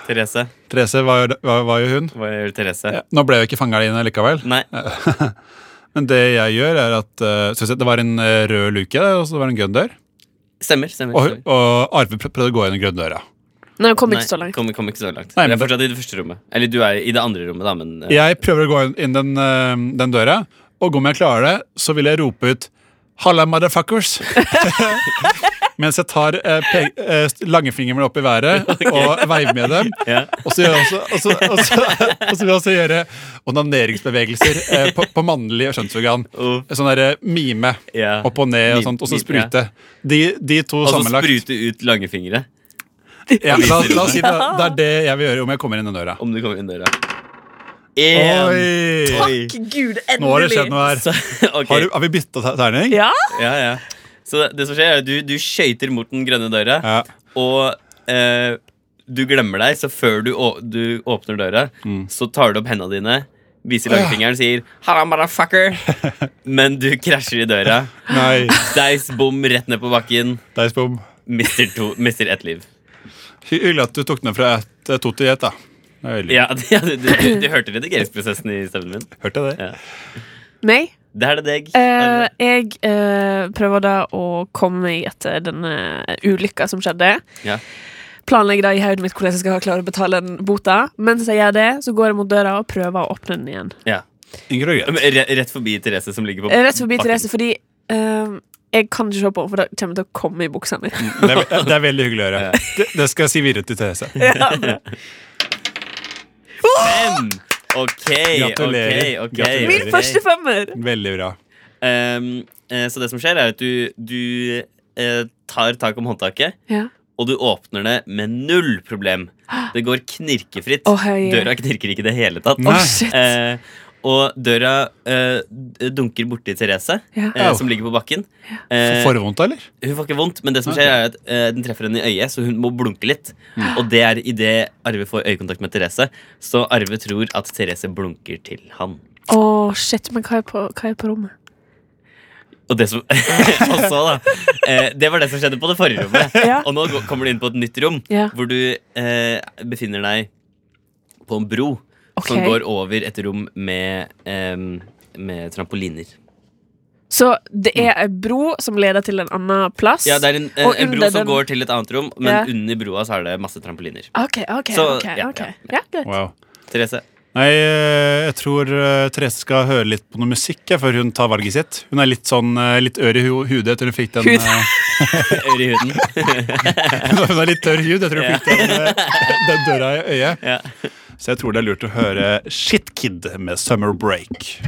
Therese. Therese var jo, var, var jo hun. Hva gjør Therese? Ja. Nå ble jeg jo ikke fanga inne likevel. Nei. Men det jeg gjør, er at eh, skal vi se, Det var en eh, rød luke, der, og så var det en grønn dør. Stemmer. stemmer, Og, stemmer. og Arve prø- prøvde å gå gjennom grønn døra. Nei, hun kom Nei, ikke så langt. Kom, kom ikke så langt. Nei, men jeg er det- fortsatt i det første rommet. Eller du er i det andre rommet, da, men eh, Jeg prøver å gå inn- inn den, eh, den døra, og om jeg klarer det, så vil jeg rope ut 'Halla, motherfuckers'. [laughs] Mens jeg tar eh, pe- eh, langfingeren opp i [laughs] været og veiver med dem. Ja. Og så, gjør jeg også, og, så, og, så, og så vil jeg også gjøre onaneringsbevegelser eh, på, på mannlig kjønnsorgan. Oh. Sånn derre mime. Ja. Opp og ned og Mime- sånt. Og så mime, ja. sprute. De, de to Og så liksom. sammenlagt. sprute ut langfingre Ja, la, la oss si det, det er det jeg vil gjøre om jeg kommer inn den døra. om du kommer inn døra. Én Oi! Oi. Gud, endelig! Nå har det skjedd noe her. [laughs] Så, ok. Har, du, har vi bytta ter- terning? Ja? ja, ja. Så det som skjer, er at du, du skøyter mot den grønne døra, Ja. og eh, du glemmer deg, så før du, å, du åpner døra, Mm. så tar du opp hendene dine, viser langfingeren, sier 'halla, motherfucker', [laughs] men du krasjer i døra. Nei. Deis bom rett ned på bakken. Deis bom. Mister, to, mister ett liv. Hy- Hyggelig at du tok den fra ett- eh, to til ett, da. Det er veldig- Ja, [laughs] ja, du, du, du, du hørte redigeringsprosessen i stemmen min. Hørte jeg det? Ja. Meg? Det er det deg. Eh, jeg eh, prøver da å komme meg etter denne ulykka som skjedde. Ja. Planlegger da i hodet mitt hvordan jeg skal klare å betale den bota. Mens jeg gjør det, så går jeg mot døra og prøver å åpne den igjen. ja. Ingrid og Grete. Men re- Rett forbi Therese, som ligger på Eh, Rett forbi bakken. Therese, fordi eh, jeg kan ikke se på henne, for da kommer jeg til å komme i buksa [laughs] mi. Det er, ve- det er veldig hyggelig å gjøre. Det, det skal jeg si videre til Therese. Ja, bra. Fem! Ok, Gratulerer. ok, ok. Gratulerer. Min ok. første femmer! Veldig bra. Ehm, eh, Så det som skjer, er at du, du eh, tar tak om håndtaket, Ja. og du åpner det med null problem. Det går knirkefritt. Å, hei. Døra knirker ikke i det hele tatt. Nei. shit. Eh, Og døra eh, d- dunker borti Therese, Ja. eh, Au. som ligger på bakken. For- Eh, For vondt, eller? hun får ikke vondt, men det som skjer er at eh, den treffer henne i øyet, så hun må blunke litt. Mm. Og det er idet Arve får øyekontakt med Therese, så Arve tror at Therese blunker til han. Å, shit, men hva er på, hva er på rommet? Og det som [laughs] Og så, da. Eh, det var det som skjedde på det forrige rommet. Ja. Og nå gå- kommer du inn på et nytt rom, Ja. hvor du eh, befinner deg på en bro Ok. som går over et rom med, em, med trampoliner. Så det er ei bro som leder til en annen plass? Ja, det er en, eh, Og en bro under som den- går til et annet rom, men Ja. under broa så er det masse trampoliner. OK, OK. Så, ok, ja, ok. ja, Ja, greit. Wow. Therese. Nei, eh, jeg tror eh, Therese skal høre litt på noe musikk jeg, før hun tar valget sitt. Hun er litt sånn eh, litt ør i hu- hudet etter hun fikk den Hud. eh, [laughs] Øre i huden. [laughs] Hun er litt tørr hud etter hun fikk den, eh, den døra i øyet. Ja. Så jeg tror det er lurt å høre Shit Kid med Summer Break.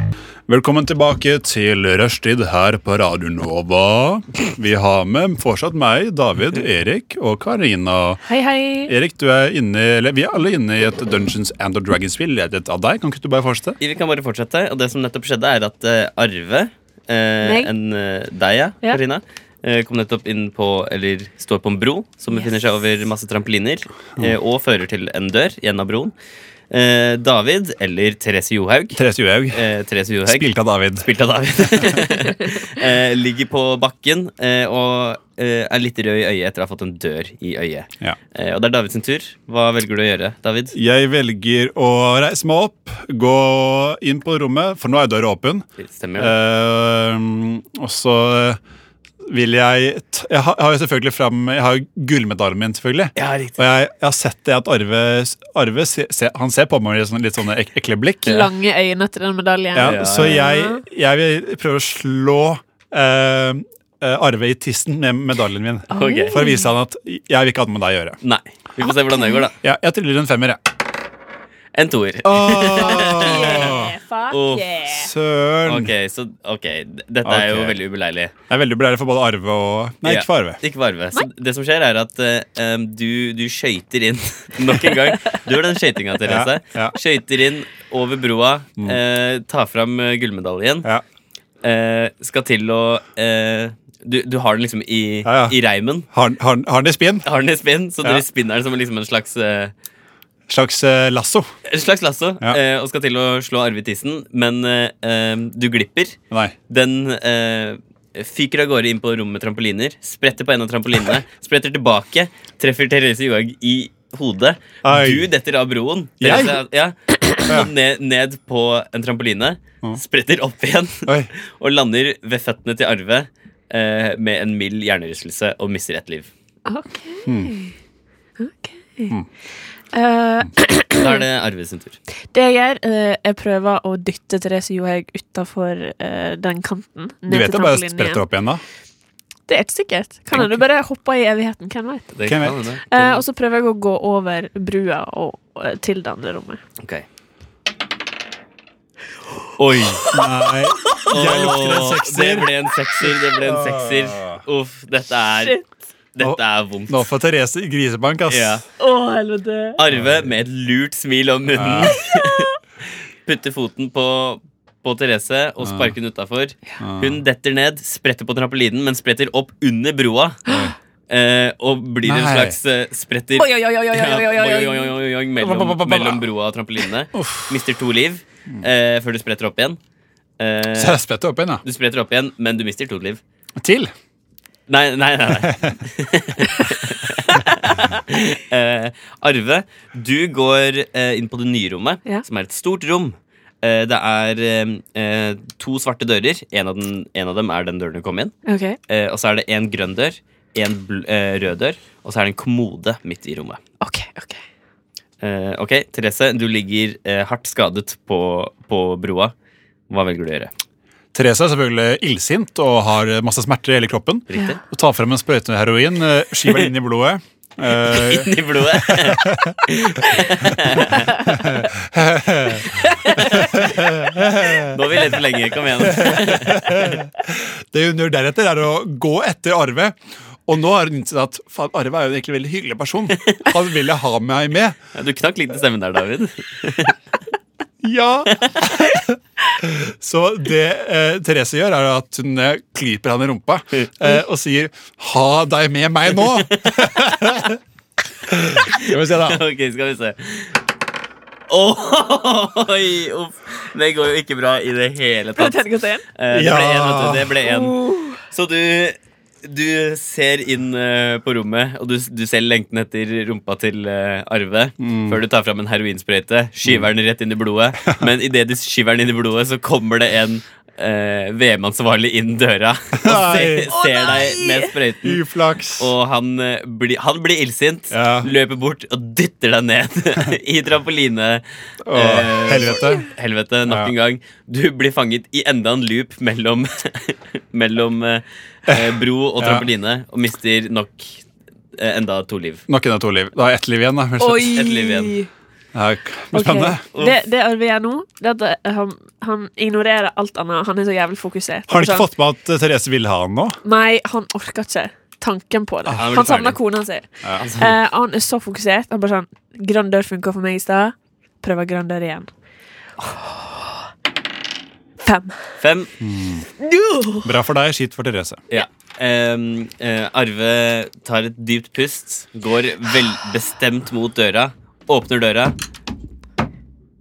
Velkommen tilbake til Rushtid her på Radio Nova. Vi har med fortsatt meg, David, Erik og Karina. Hei, hei. Erik, du er inne, eller vi er alle inne i et Dungeons and Dragons-spill ledet av deg. Kan ikke du bare fortsette? Vi kan bare fortsette. Og det som nettopp skjedde, er at eh, Arve, eh, Meg. en, eh, deg, ja, Ja. Karina, eh, kom nettopp inn på, eller står på en bro som befinner seg over masse trampoliner, eh, og fører til en dør gjennom broen. Eh, David, eller Therese Johaug, Therese Johaug. eh, Therese Johaug Spilt av David. spilt av David, [laughs] eh, ligger på bakken eh, og eh, er litt rød i øyet etter å ha fått en dør i øyet. Ja. Eh, og det er Davids sin tur. Hva velger du å gjøre, David? Jeg velger å reise meg opp, gå inn på rommet, for nå er døra åpen. Eh, Stemmer det? Ehm, og så eh, vil jeg t Jeg har jeg har jo selvfølgelig fram Jeg har jo gullmedaljen min, selvfølgelig. Ja, riktig. Og jeg, jeg har sett det at Arve, Arve se, se, Han ser på meg med sånn, litt sånne ek, ekle blikk. Lange øyne til den medaljen. Ja, Ja, så ja. jeg, jeg vil prøve å slå eh, eh, Arve i tissen med medaljen min. Ok. For å vise han at jeg vil ikke ha noe med deg å gjøre. Nei. Vi får se hvordan det går, da. Ja, jeg tryller en femmer, jeg. En toer. Åh, Yeah, Eh, fuck Uff. yeah. Søren. Ok, så, ok, d- dette er jo Ok. veldig ubeleilig. Jeg er veldig belæret for både Arve og Nei, Ja. ikke for Arve. Ikke varve. Så det som skjer, er at eh, em, du, du skøyter inn [laughs] nok en gang. Du er den skøytinga, Therese. Ja, ja. Skøyter inn over broa, eh, tar fram eh, gullmedaljen. Ja. eh, skal til å eh, du, du har den liksom i, Ja, ja. i reimen. Har han- har han har han det i spinn? Har den i spinn, så Ja. dere spinner den som liksom en slags eh, Slags eh, lasso? En slags lasso. Ja. Eh, og skal til å slå Arve i tissen, men eh, eh, du glipper. Nei. Den eh, fyker av gårde inn på rommet med trampoliner, spretter på en av trampolinene, [laughs] spretter tilbake, treffer Therese Johaug i hodet. Ai. Du detter av broen. Jeg? Therese, ja, [clears throat] og ned, ned på en trampoline, spretter opp igjen. Oi. [laughs] og lander ved føttene til Arve eh, med en mild hjernerystelse og mister ett liv. OK. Hmm. Ok. Eh, Da er det Arve sin tur. det jeg gjør, eh, jeg prøver å dytte Therese Johaug utafor eh, den kanten. Du vet det til bare trampolinen igjen. spretter opp igjen da? Det er ikke sikkert. Kan hende du bare hopper i evigheten. Hvem vet. Det Hvem kan vet? hende. Eh, og så prøver jeg å gå over brua og, eh, til det andre rommet. Ok. Oi! Nei. Jeg lukter en Åh, Det sekser. Ah. ble en sekser. Det ble en sekser. Uff, dette er, Shit. dette er vondt. Nå får Therese grisebank, ass. Ja. Å, helvete. Arve med et lurt smil om munnen Ah. [laughs] putter foten på, på Therese og Ah. sparker den utafor. Hun detter ned, spretter på trampolinen, men spretter opp under broa. Eh, og blir en Nei. slags eh, spretter Oi, oi, oi, oi, oi, oi, oi, oi, oi. Ja, boing, boing, boing, boing, mellom, mellom broa og trampolinene. Mister to liv eh, før du spretter opp igjen. Eh, Så jeg spretter opp igjen, da. du spretter opp igjen, men du mister to liv. Til. Nei, nei, nei. nei. [laughs] eh, Arve, du går eh, inn på det nye rommet, Ja. som er et stort rom. Eh, det er eh, eh, to svarte dører. En av, den, en av dem er den døren du kom inn. Ok. Eh, og så er det en grønn dør, en bl eh, rød dør, og så er det en kommode midt i rommet. OK. ok Eh, ok, Therese, du ligger eh, hardt skadet på, på broa. Hva velger du å gjøre? Therese er selvfølgelig illsint og har masse smerter i hele kroppen. Riktig? Og tar frem en sprøyte med heroin, eh, skyver den inn i blodet. Eh, Inn i blodet. Nå har vi ledd for lenge. Kom igjen. [laughs] det hun gjør deretter, er å gå etter Arve. Og nå har hun innsett at faen, Arve er jo egentlig en veldig [laughs] hyggelig person. Han vil jeg ha meg med. Du knakk litt i stemmen der, David. Ja! [laughs] Så det eh, Therese gjør, er at hun eh, klyper han i rumpa eh, og sier 'ha deg med meg [laughs] nå'. Skal vi se, da. Ok, skal vi se. Oi, uff. Det går jo ikke bra i det hele Ble det tatt. terningkast én? Eh, Det ble én, Ja. vet du. Det ble én. Oh. Så du, du ser inn eh, på rommet, og du, du ser lengten etter rumpa til eh, Arve. Før du tar fram en heroinsprøyte, skyver den rett inn i blodet. Men idet du skyver den inn i blodet, så kommer det en eh, VM-ansvarlig inn døra [laughs] og Nei. ser, ser Å, deg nei! med sprøyten. Uflaks. Og han, eh, blir- han blir illsint, Ja. løper bort og dytter deg ned [laughs] i trampoline. Å, eh, helvete. Helvete, nok Ja. en gang. Du blir fanget i enda en loop mellom, [laughs] mellom eh, eh, bro og [laughs] Ja. trampoline og mister nok eh, enda to liv. Nok en av to liv. Da er ett liv igjen, da. rett og slett. Oi! Et liv igjen. Ja, Ok. Spennende. Det, det Arve gjør nå, det er at eh, han, han ignorerer alt annet. Han er så jævlig fokusert. Har han ikke Sånn, fått med at eh, Therese ville ha han nå? Nei, han orker ikke tanken på det. Ah, han blir han savner ferdig. kona si. Eh, Altså, han er så fokusert. Han bare sånn Grønn dør funka for meg i stad. Prøver grønn dør igjen. Åh. Fem. fem. Jo! Bra for deg, skitt for Therese. Ja. Em, eh, Arve tar et dypt pust, går velbestemt mot døra, åpner døra.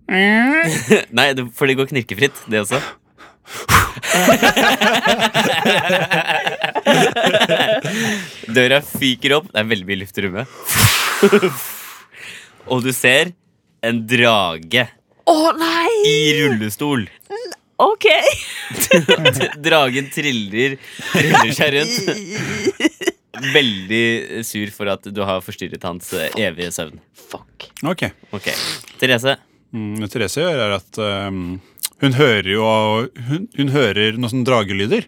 [laughs] Nei, det- for det går knirkefritt, det også. [laughs] Døra fyker opp. Det er veldig mye luft i rommet. [laughs] Og du ser en drage Å nei! i rullestol. OK. [laughs] Dragen triller, triller seg rundt. [laughs] Veldig sur for at du har forstyrret hans eh, evige søvn. Fuck. Ok. Ok, Therese. Mm, det Therese gjør, er at ehm, hun hører jo hun, hun hører noen sånne dragelyder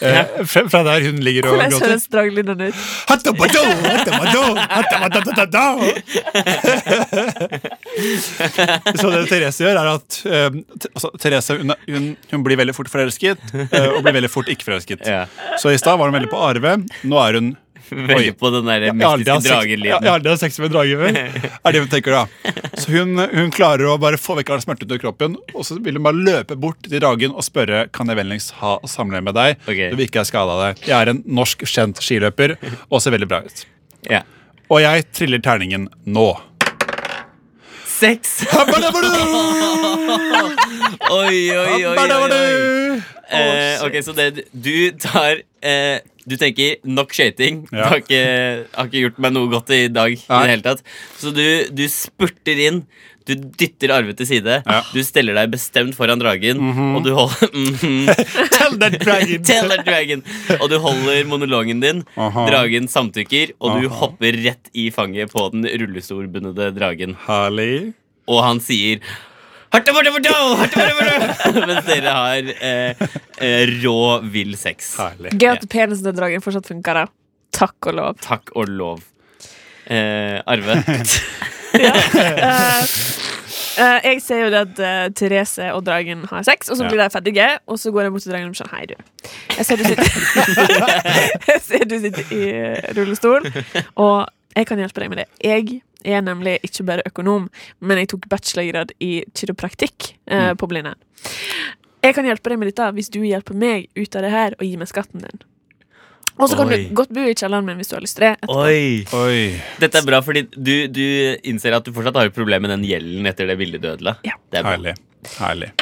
eh, fra, fra der hun ligger [laughs] og Hvordan gråter. høres draglydene ut? Hattabado, hattabado, [laughs] hattabadadadada. Så det Therese gjør, er at ehm, t- altså, Therese hun, er- hun, hun blir veldig fort forelsket, eh, og blir veldig fort ikke forelsket. Ja. Så i stad var hun veldig på Arve. Nå er hun Veldig på den der jeg har aldri mystiske hatt sex- jeg jeg dragelyden. har aldri hatt sex med en drage før. Er det hun tenker da Så hun, hun klarer å bare få vekk all smerte ut av kroppen, og så vil hun bare løpe bort til dragen og spørre Kan jeg vennligst ha samleie med deg. Ok. Du vil ikke ha skada deg. Jeg er en norsk kjent skiløper og ser veldig bra ut. Ja. Og jeg triller terningen nå. [laughs] Sex! Oi, [laughs] oi, oi. oi, oi. Eh, ok, Så det, du tar eh, Du tenker nok skøyting. Det Ja. har ikke, har ikke gjort meg noe godt i dag. Nei. i det hele tatt Så du, du spurter inn. Du dytter Arve til side. Ja. Mhm. Du steller deg bestemt foran dragen, og du holder Tell that dragon. [laughs] Tell that dragon! Og du holder monologen din. Aha. Dragen samtykker, og du Aha. hopper rett i fanget på den rullestolbundede dragen. Herlig. Og han sier Harta, borta, borta, harta, borta, borta. [laughs] Mens dere har eh, eh, rå, vill sex. Herlig. Gøy at penisen til dragen fortsatt funker. da. Takk og lov. Takk og lov. Eh, Arve. Eh, eh, jeg ser jo det at eh, Therese og dragen har sex, og så Ja. blir de ferdige. Og så går jeg bort til dragen og sier hei, du. Jeg ser du sitter, [laughs] jeg ser du sitter i eh, rullestol, og jeg kan hjelpe deg med det. Jeg er nemlig ikke bare økonom, men jeg tok bachelorgrad i kiropraktikk Mm. eh, på Blindern. Jeg kan hjelpe deg med dette hvis du hjelper meg ut av det her og gir meg skatten din. Og så kan Oi. du godt bo i kjelleren min hvis du har lyst til det. etterpå. Oi. [laughs] Oi. Dette er bra, fordi du, du innser at du fortsatt har et problem med den gjelden etter det bildet du ødela. Ja. Det er bra. Herlig. Herlig.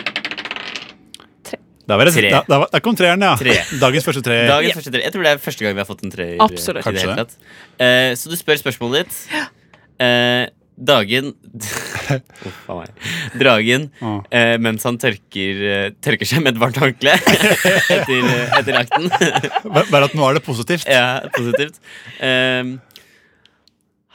Tre. Der, var det, Tre. da, da, var- der kom treeren, ja. Tre. Dagens første tre. Dagens Ja. første tre. Jeg tror det er første gang vi har fått en treer. Absolutt. i det hele Eh, Kanskje tatt. Eh, så du spør spørsmålet ditt. Eh, dagen Uff a meg. Dragen Ah. eh, mens han tørker, eh, tørker seg med et varmt håndkle etter, etter akten. [laughs] Bare bare at nå er det positivt. ja, positivt. Eh,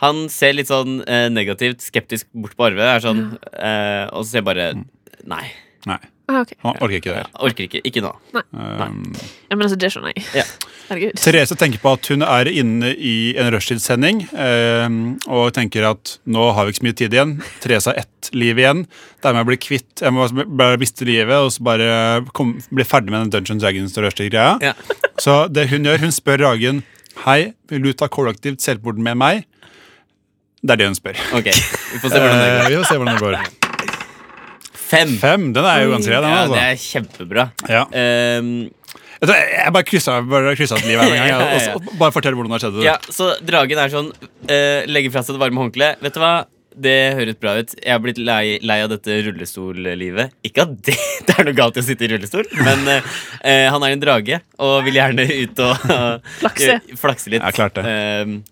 han ser litt sånn eh, negativt, skeptisk bort på Arve, er sånn, eh, og så ser jeg bare Nei, Nei, Ah, ok. han orker ikke det. her. orker ikke. Ikke nå. Um, Ja, men altså, det skjønner jeg. Ja. Herregud. Therese tenker på at hun er inne i en rushtidssending um, og tenker at nå har vi ikke så mye tid igjen. Therese har ett liv igjen. Det er med å bli kvitt Jeg må bare miste livet og så bare kom, bli ferdig med den Dungeons Dragons og rushtid-greia. Ja. Så det hun gjør, hun spør Ragen Hei, vil du ta kollektivt selvmord med meg. Det er det hun spør. Ok, vi får se hvordan det går. Eh, vi får se hvordan det går. Fem. Fem, den er jo ganske redd, Ja, den. det Altså. er kjempebra. Ja. Ehm, Jeg tror- Jeg bare kryssa bare kryssa et liv her en [laughs] gang. jeg, og så- og Bare fortell hvordan det skjedde. ja, så dragen er sånn eh, Legger fra seg det varme håndkleet. Vet du hva? Det høres bra ut. Jeg har blitt lei, lei av dette rullestollivet. Ikke at det, [laughs] det er noe galt i å sitte i rullestol, men eh, eh, han er en drage og vil gjerne ut og Eh, Flakse. flakse litt. Ja, klart det. Ehm,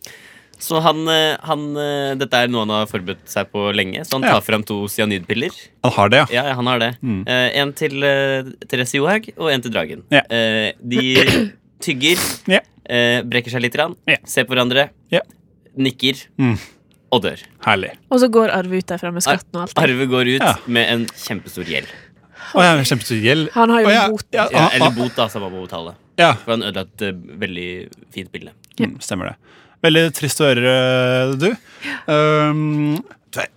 så han, eh, han eh, Dette er noe han har forberedt seg på lenge, så han Ja. tar fram to cyanidpiller. Han har det, ja. Ja, ja, han har det. Eh, en til eh, Therese Johaug og en til Dragen. Ja. Eh, de tygger, Ja. eh, brekker seg litt, grann, Ja. ser på hverandre, Ja. nikker Mm. og dør. Herlig. Og så går Arve ut derfra med skatten og alt. Arve går ut Ja. med en kjempestor gjeld. Å, jeg er kjempestor gjeld. Han har jo Å, ja, bot. Ja, Ja, ah, eller ah, bot, da, som han må betale. ja. For han ødela et eh, veldig fint bilde. Mm, stemmer det. Veldig trist å høre, eh, du. Um, jeg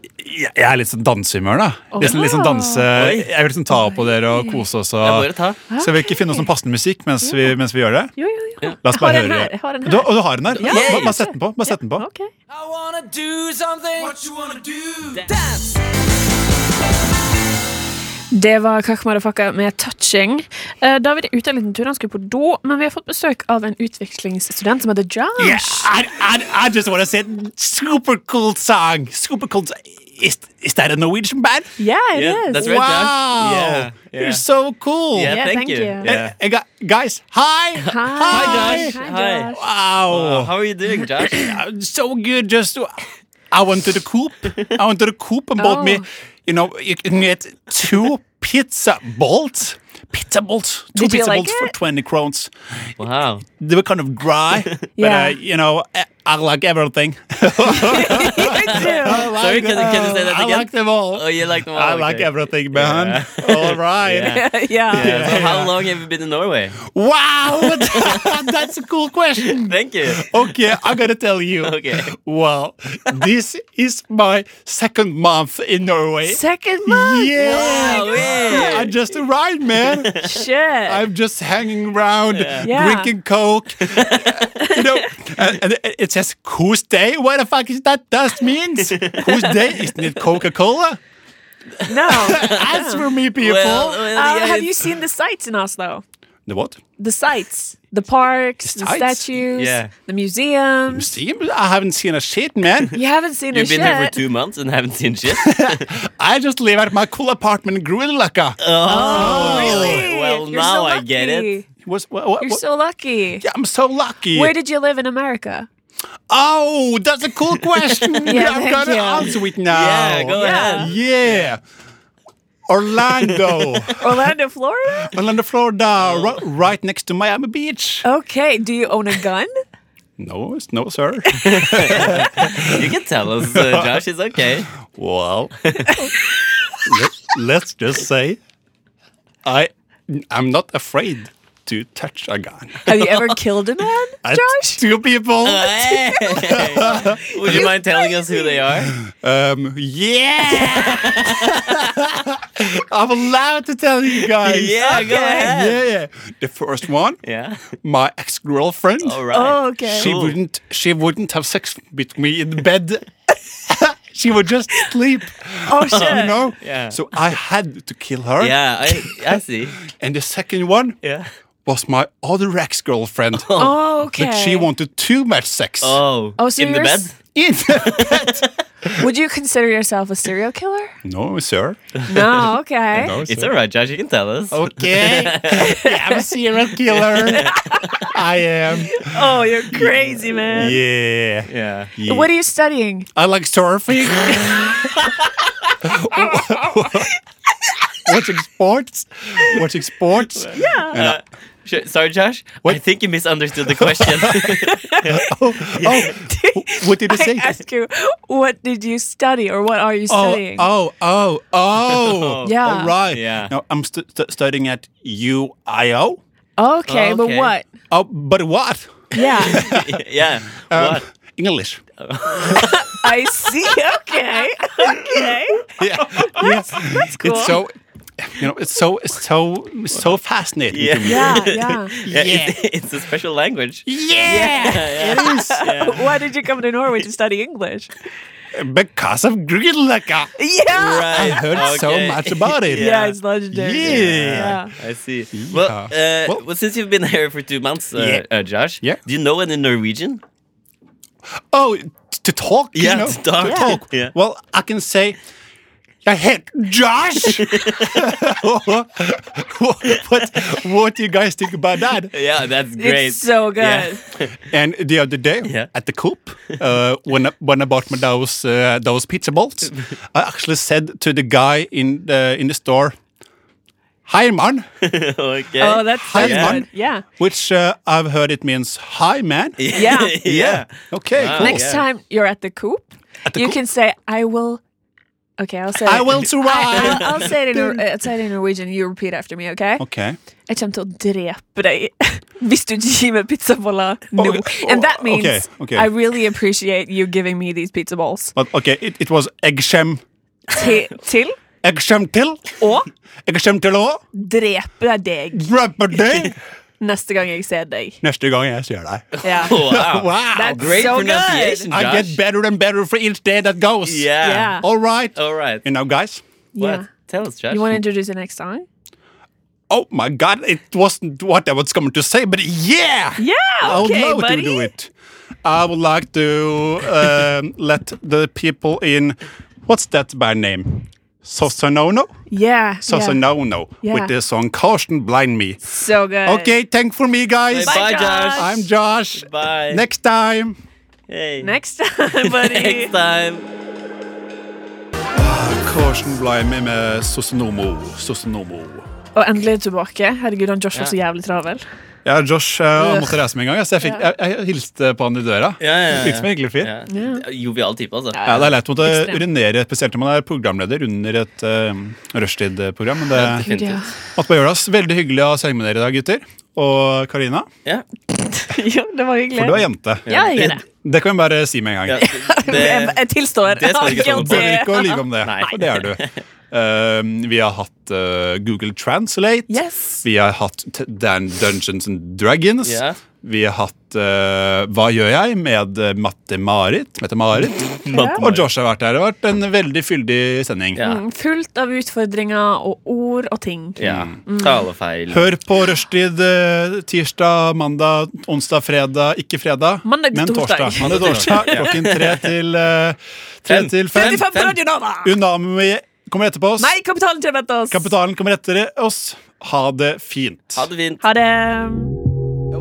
jeg er litt sånn dansehumør, da. Litt sånn, litt sånn danse Oi. Jeg vil liksom ta på dere og kose oss. Jeg Og, bare tar. skal vi ikke finne oss noen passende musikk mens vi, mens vi gjør det? Jo, jo, jo. La oss Jeg har bare en her. høre. Jeg har en Du, her. og du har den her? Ja, Bare- ja, bare sett den på. Bare sett den på. Ok. I wanna do something. What you wanna do? Dance. Det var Kakmarafakka med 'Touching'. Eh, David er ute en liten tur, han skulle på do, men vi har fått besøk av en utvekslingsstudent som heter Josh. Yeah, I, I, I just want to say super cool song. Super cool. song. Is, is that a Norwegian band? Yeah, it Yeah, is. that's right. Wow. Yeah, yeah. You're so cool. Yeah, Yeah, thank thank you. you. Yeah. [laughs] And- and gu- guys, hi. Hi. Hi, Josh. Hi. Josh. Oh, Wow. how are you doing, [laughs] Josh? I'm so good. Just I went to the coop. I went to the coop and bought me, Oh. you know, you can get two pizza bolts. Pizza bolts. Two Did you pizza like bolts for it? 20 crowns. Wow. They were kind of [laughs] dry, but Yeah. uh, you know, I, I like everything. Oh, I like Sorry, can, them. can you say that I again? like them all. Oh, you like them all? I like okay. everything, man. Yeah. All right. [laughs] Yeah. [laughs] yeah. Yeah, so how long have you been in Norway? Wow, [laughs] that's a cool [laughs] question. Thank you. Okay, I gotta tell you. [laughs] Okay. Well, this is my second month in Norway. Second month. Yeah. Wow, yeah. I just arrived, man. [laughs] Shit. I'm just hanging around, Yeah. drinking [laughs] coke. you know, and, and it- it says "Whose day"? What the fuck is that? That means "Whose day"? Isn't it Coca-Cola? [laughs] no. As for me, people. Well, well, Uh, yeah, have you it's- seen the sights in Oslo? the what? The sights, the parks, the sights? statues, Yeah. the museums. Museum? I haven't seen a shit, [laughs] man. You haven't seen You've a been shit. here for two months and haven't seen [laughs] shit. I just live at my cool apartment in Grudelaka. Oh, Really? Well, You're now so I get it. lucky. Was what, what, You're what? so lucky. Yeah, I'm so lucky. Where did you live in America? oh, that's a cool [laughs] question. I'm thank gonna you. answer it now. Yeah, Oh. go Yeah. ahead. Yeah. Orlando, [laughs] Orlando, Florida? Orlando, Florida, ri- right next to Miami Beach. Okay, do you own a gun? No, it's no, [laughs] sir. You can tell us, [laughs] uh, Josh. It's okay. well, let, us just say, I, I'm not afraid to touch a gun. Have you ever killed a man, At Josh? Two people. Uh. Hey. Would you mind telling us who they are? Um, [laughs] yeah! [laughs] I'm allowed to tell you guys. Yeah, go ahead. Yeah, yeah. The first one, Yeah. my ex-girlfriend. All right. Oh, okay. She Cool. wouldn't she wouldn't have sex with me in bed. [laughs] she would just sleep. oh, [laughs] shit. You know? Yeah. So I had to kill her. Yeah, I, I see. And the second one Yeah. was my other ex-girlfriend. Oh, okay. But she wanted too much sex. Oh, Oh, so in the you're bed? s- In [laughs] the bed. Would you consider yourself a serial killer? No, [laughs] sir. No, okay. No, It's sir. all right, Josh. You can tell us. Oh, Okay. [laughs] yeah, I'm a serial [laughs] killer. I am. Oh, you're crazy, man. Yeah. Yeah. yeah. What are you studying? I like surfing. watching sports. Watching sports. Yeah. Uh, sh- sorry, Josh. I What? think you misunderstood the [laughs] question. [laughs] Oh, wh- what [laughs] did you I say? ask you, what did you study or what are you Oh, studying? oh, oh, oh. [laughs] Yeah. All right. Yeah. No, I'm st- st- studying at UIO. okay, but Okay. what? Oh, but what? Yeah, yeah. Um, what? English. I see. Okay, [laughs] okay. [laughs] [laughs] Yeah. That's, that's cool. [laughs] It's so, you know, it's so, it's so, it's so fascinating Yeah. to me. [laughs] yeah, yeah. Yeah, It's, [laughs] it's a special language. [laughs] Yeah, it is. Why did you come to Norway to study English? Because of Greenlaka! Yeah! I heard so Okay. much about [laughs] it. Yeah, it's legendary. Yeah. Yeah. I see. Yeah. Well, uh, Well- well, since you've been here for two months, uh, Yeah. uh, Josh, Yeah. do you know any Norwegian? Oh, t- to talk? Yeah, you [laughs] know? to talk. Yeah. Well, I can say, I hate [laughs] Josh! [laughs] what, what do you guys think about that? Yeah, that's great. It's so good. Yeah. And the other day Yeah. at the Coop, uh, when, I, when I bought my those, uh, those pizza balls, I actually said to the guy in the, in the store, Hi, man, [laughs] okay. Oh, that's so Hi, good. man. Yeah. which uh, I've heard it means hi, man. Yeah. [laughs] [laughs] yeah. Okay, Wow. cool. Next Yeah. time you're at the coop, At the you Coop. can say, I will. Okay, I'll say I it. will I, survive. [laughs] I'll, I'll say [laughs] det i, nor- eh, si det i Norwegian. You repeat after me, OK? okay. Jeg kommer til å drepe deg [laughs] hvis du ikke gir meg pizzaboller nå. Ok, oh, And that means okay, okay. I really appreciate you giving me these pizza balls. But okay, it, it was eggsham. Til, til Eggsham til. å Oh. Eggsham til å drepe [laughs] deg drepe deg neste gang jeg ser deg. neste gang jeg ser [laughs] deg. Ja. Wow. Wow. That's Great so pronunciation, good. I Josh. get better and better for each day that goes. Yeah. Yeah. All right. All right. You know, guys. What? Yeah. Tell us, Josh. You want to introduce the next song? Oh my God, it wasn't what I was going to say, but yeah. Yeah, I would okay, love buddy. to do it. I would like to um, [laughs] let the people in. What's that by name? Sosanono? Yeah. yeah. Sosanono Yeah. with the song Caution Blind Me. So good. Okay, thank for me, guys. Bye, Bye, Josh. Josh. I'm Josh. Bye. Next time. Hey. Next time, [laughs] buddy. Next time. Caution Blind Me med Sosonomo. Sosonomo. Og endelig tilbake. Herregud, han Josh var så jævlig travel. Ja, Josh eh, han måtte reise med en gang, ja, så jeg, fikk, jeg, jeg hilste på han i døra. Ja, ja, ja. Virket som en hyggelig fyr. Ja. Jovial type, altså. Ja, Det er leit å måtte Ekstremt. urinere, spesielt når man er programleder under et uh, rushtid-program. Men det Fint ut. Ja. måtte bare gjøre det. ass. Veldig hyggelig å senge med dere i dag, gutter. Og Karina, Ja. [laughs] ja, det var hyggelig. for du er jente. Ja, jeg gjør det. Det kan vi bare si med en [laughs] Ja, gang. Jeg, det, jeg tilstår. det skal vi [laughs] ikke holde på. Prøver ikke å lyve om det, Nei. for det er du. Eh, vi har hatt eh, Google Translate. Yes. Vi har hatt t- Dan Dungeons and Dragons. Ja. Vi har hatt eh, Hva gjør jeg? med eh, Matte-Marit. Mette-Marit. Matte-Marit. Og Josh har vært her. Det har vært en veldig fyldig sending. ja. Mm, Fullt av utfordringer og ord og ting. ja. Mm. Talefeil. Hør på Rushtid eh, tirsdag, mandag, onsdag, fredag. Ikke fredag, Mandag til men torsdag. torsdag. Mandag, Mandag til torsdag Klokken tre til, eh, tre Fem. til fem. 35 på Radio Nova! Unami kommer etter på oss. Nei, Kapitalen kommer etter oss. Kapitalen kommer etter oss. Ha det fint. Ha det fint. Ha det. Yo,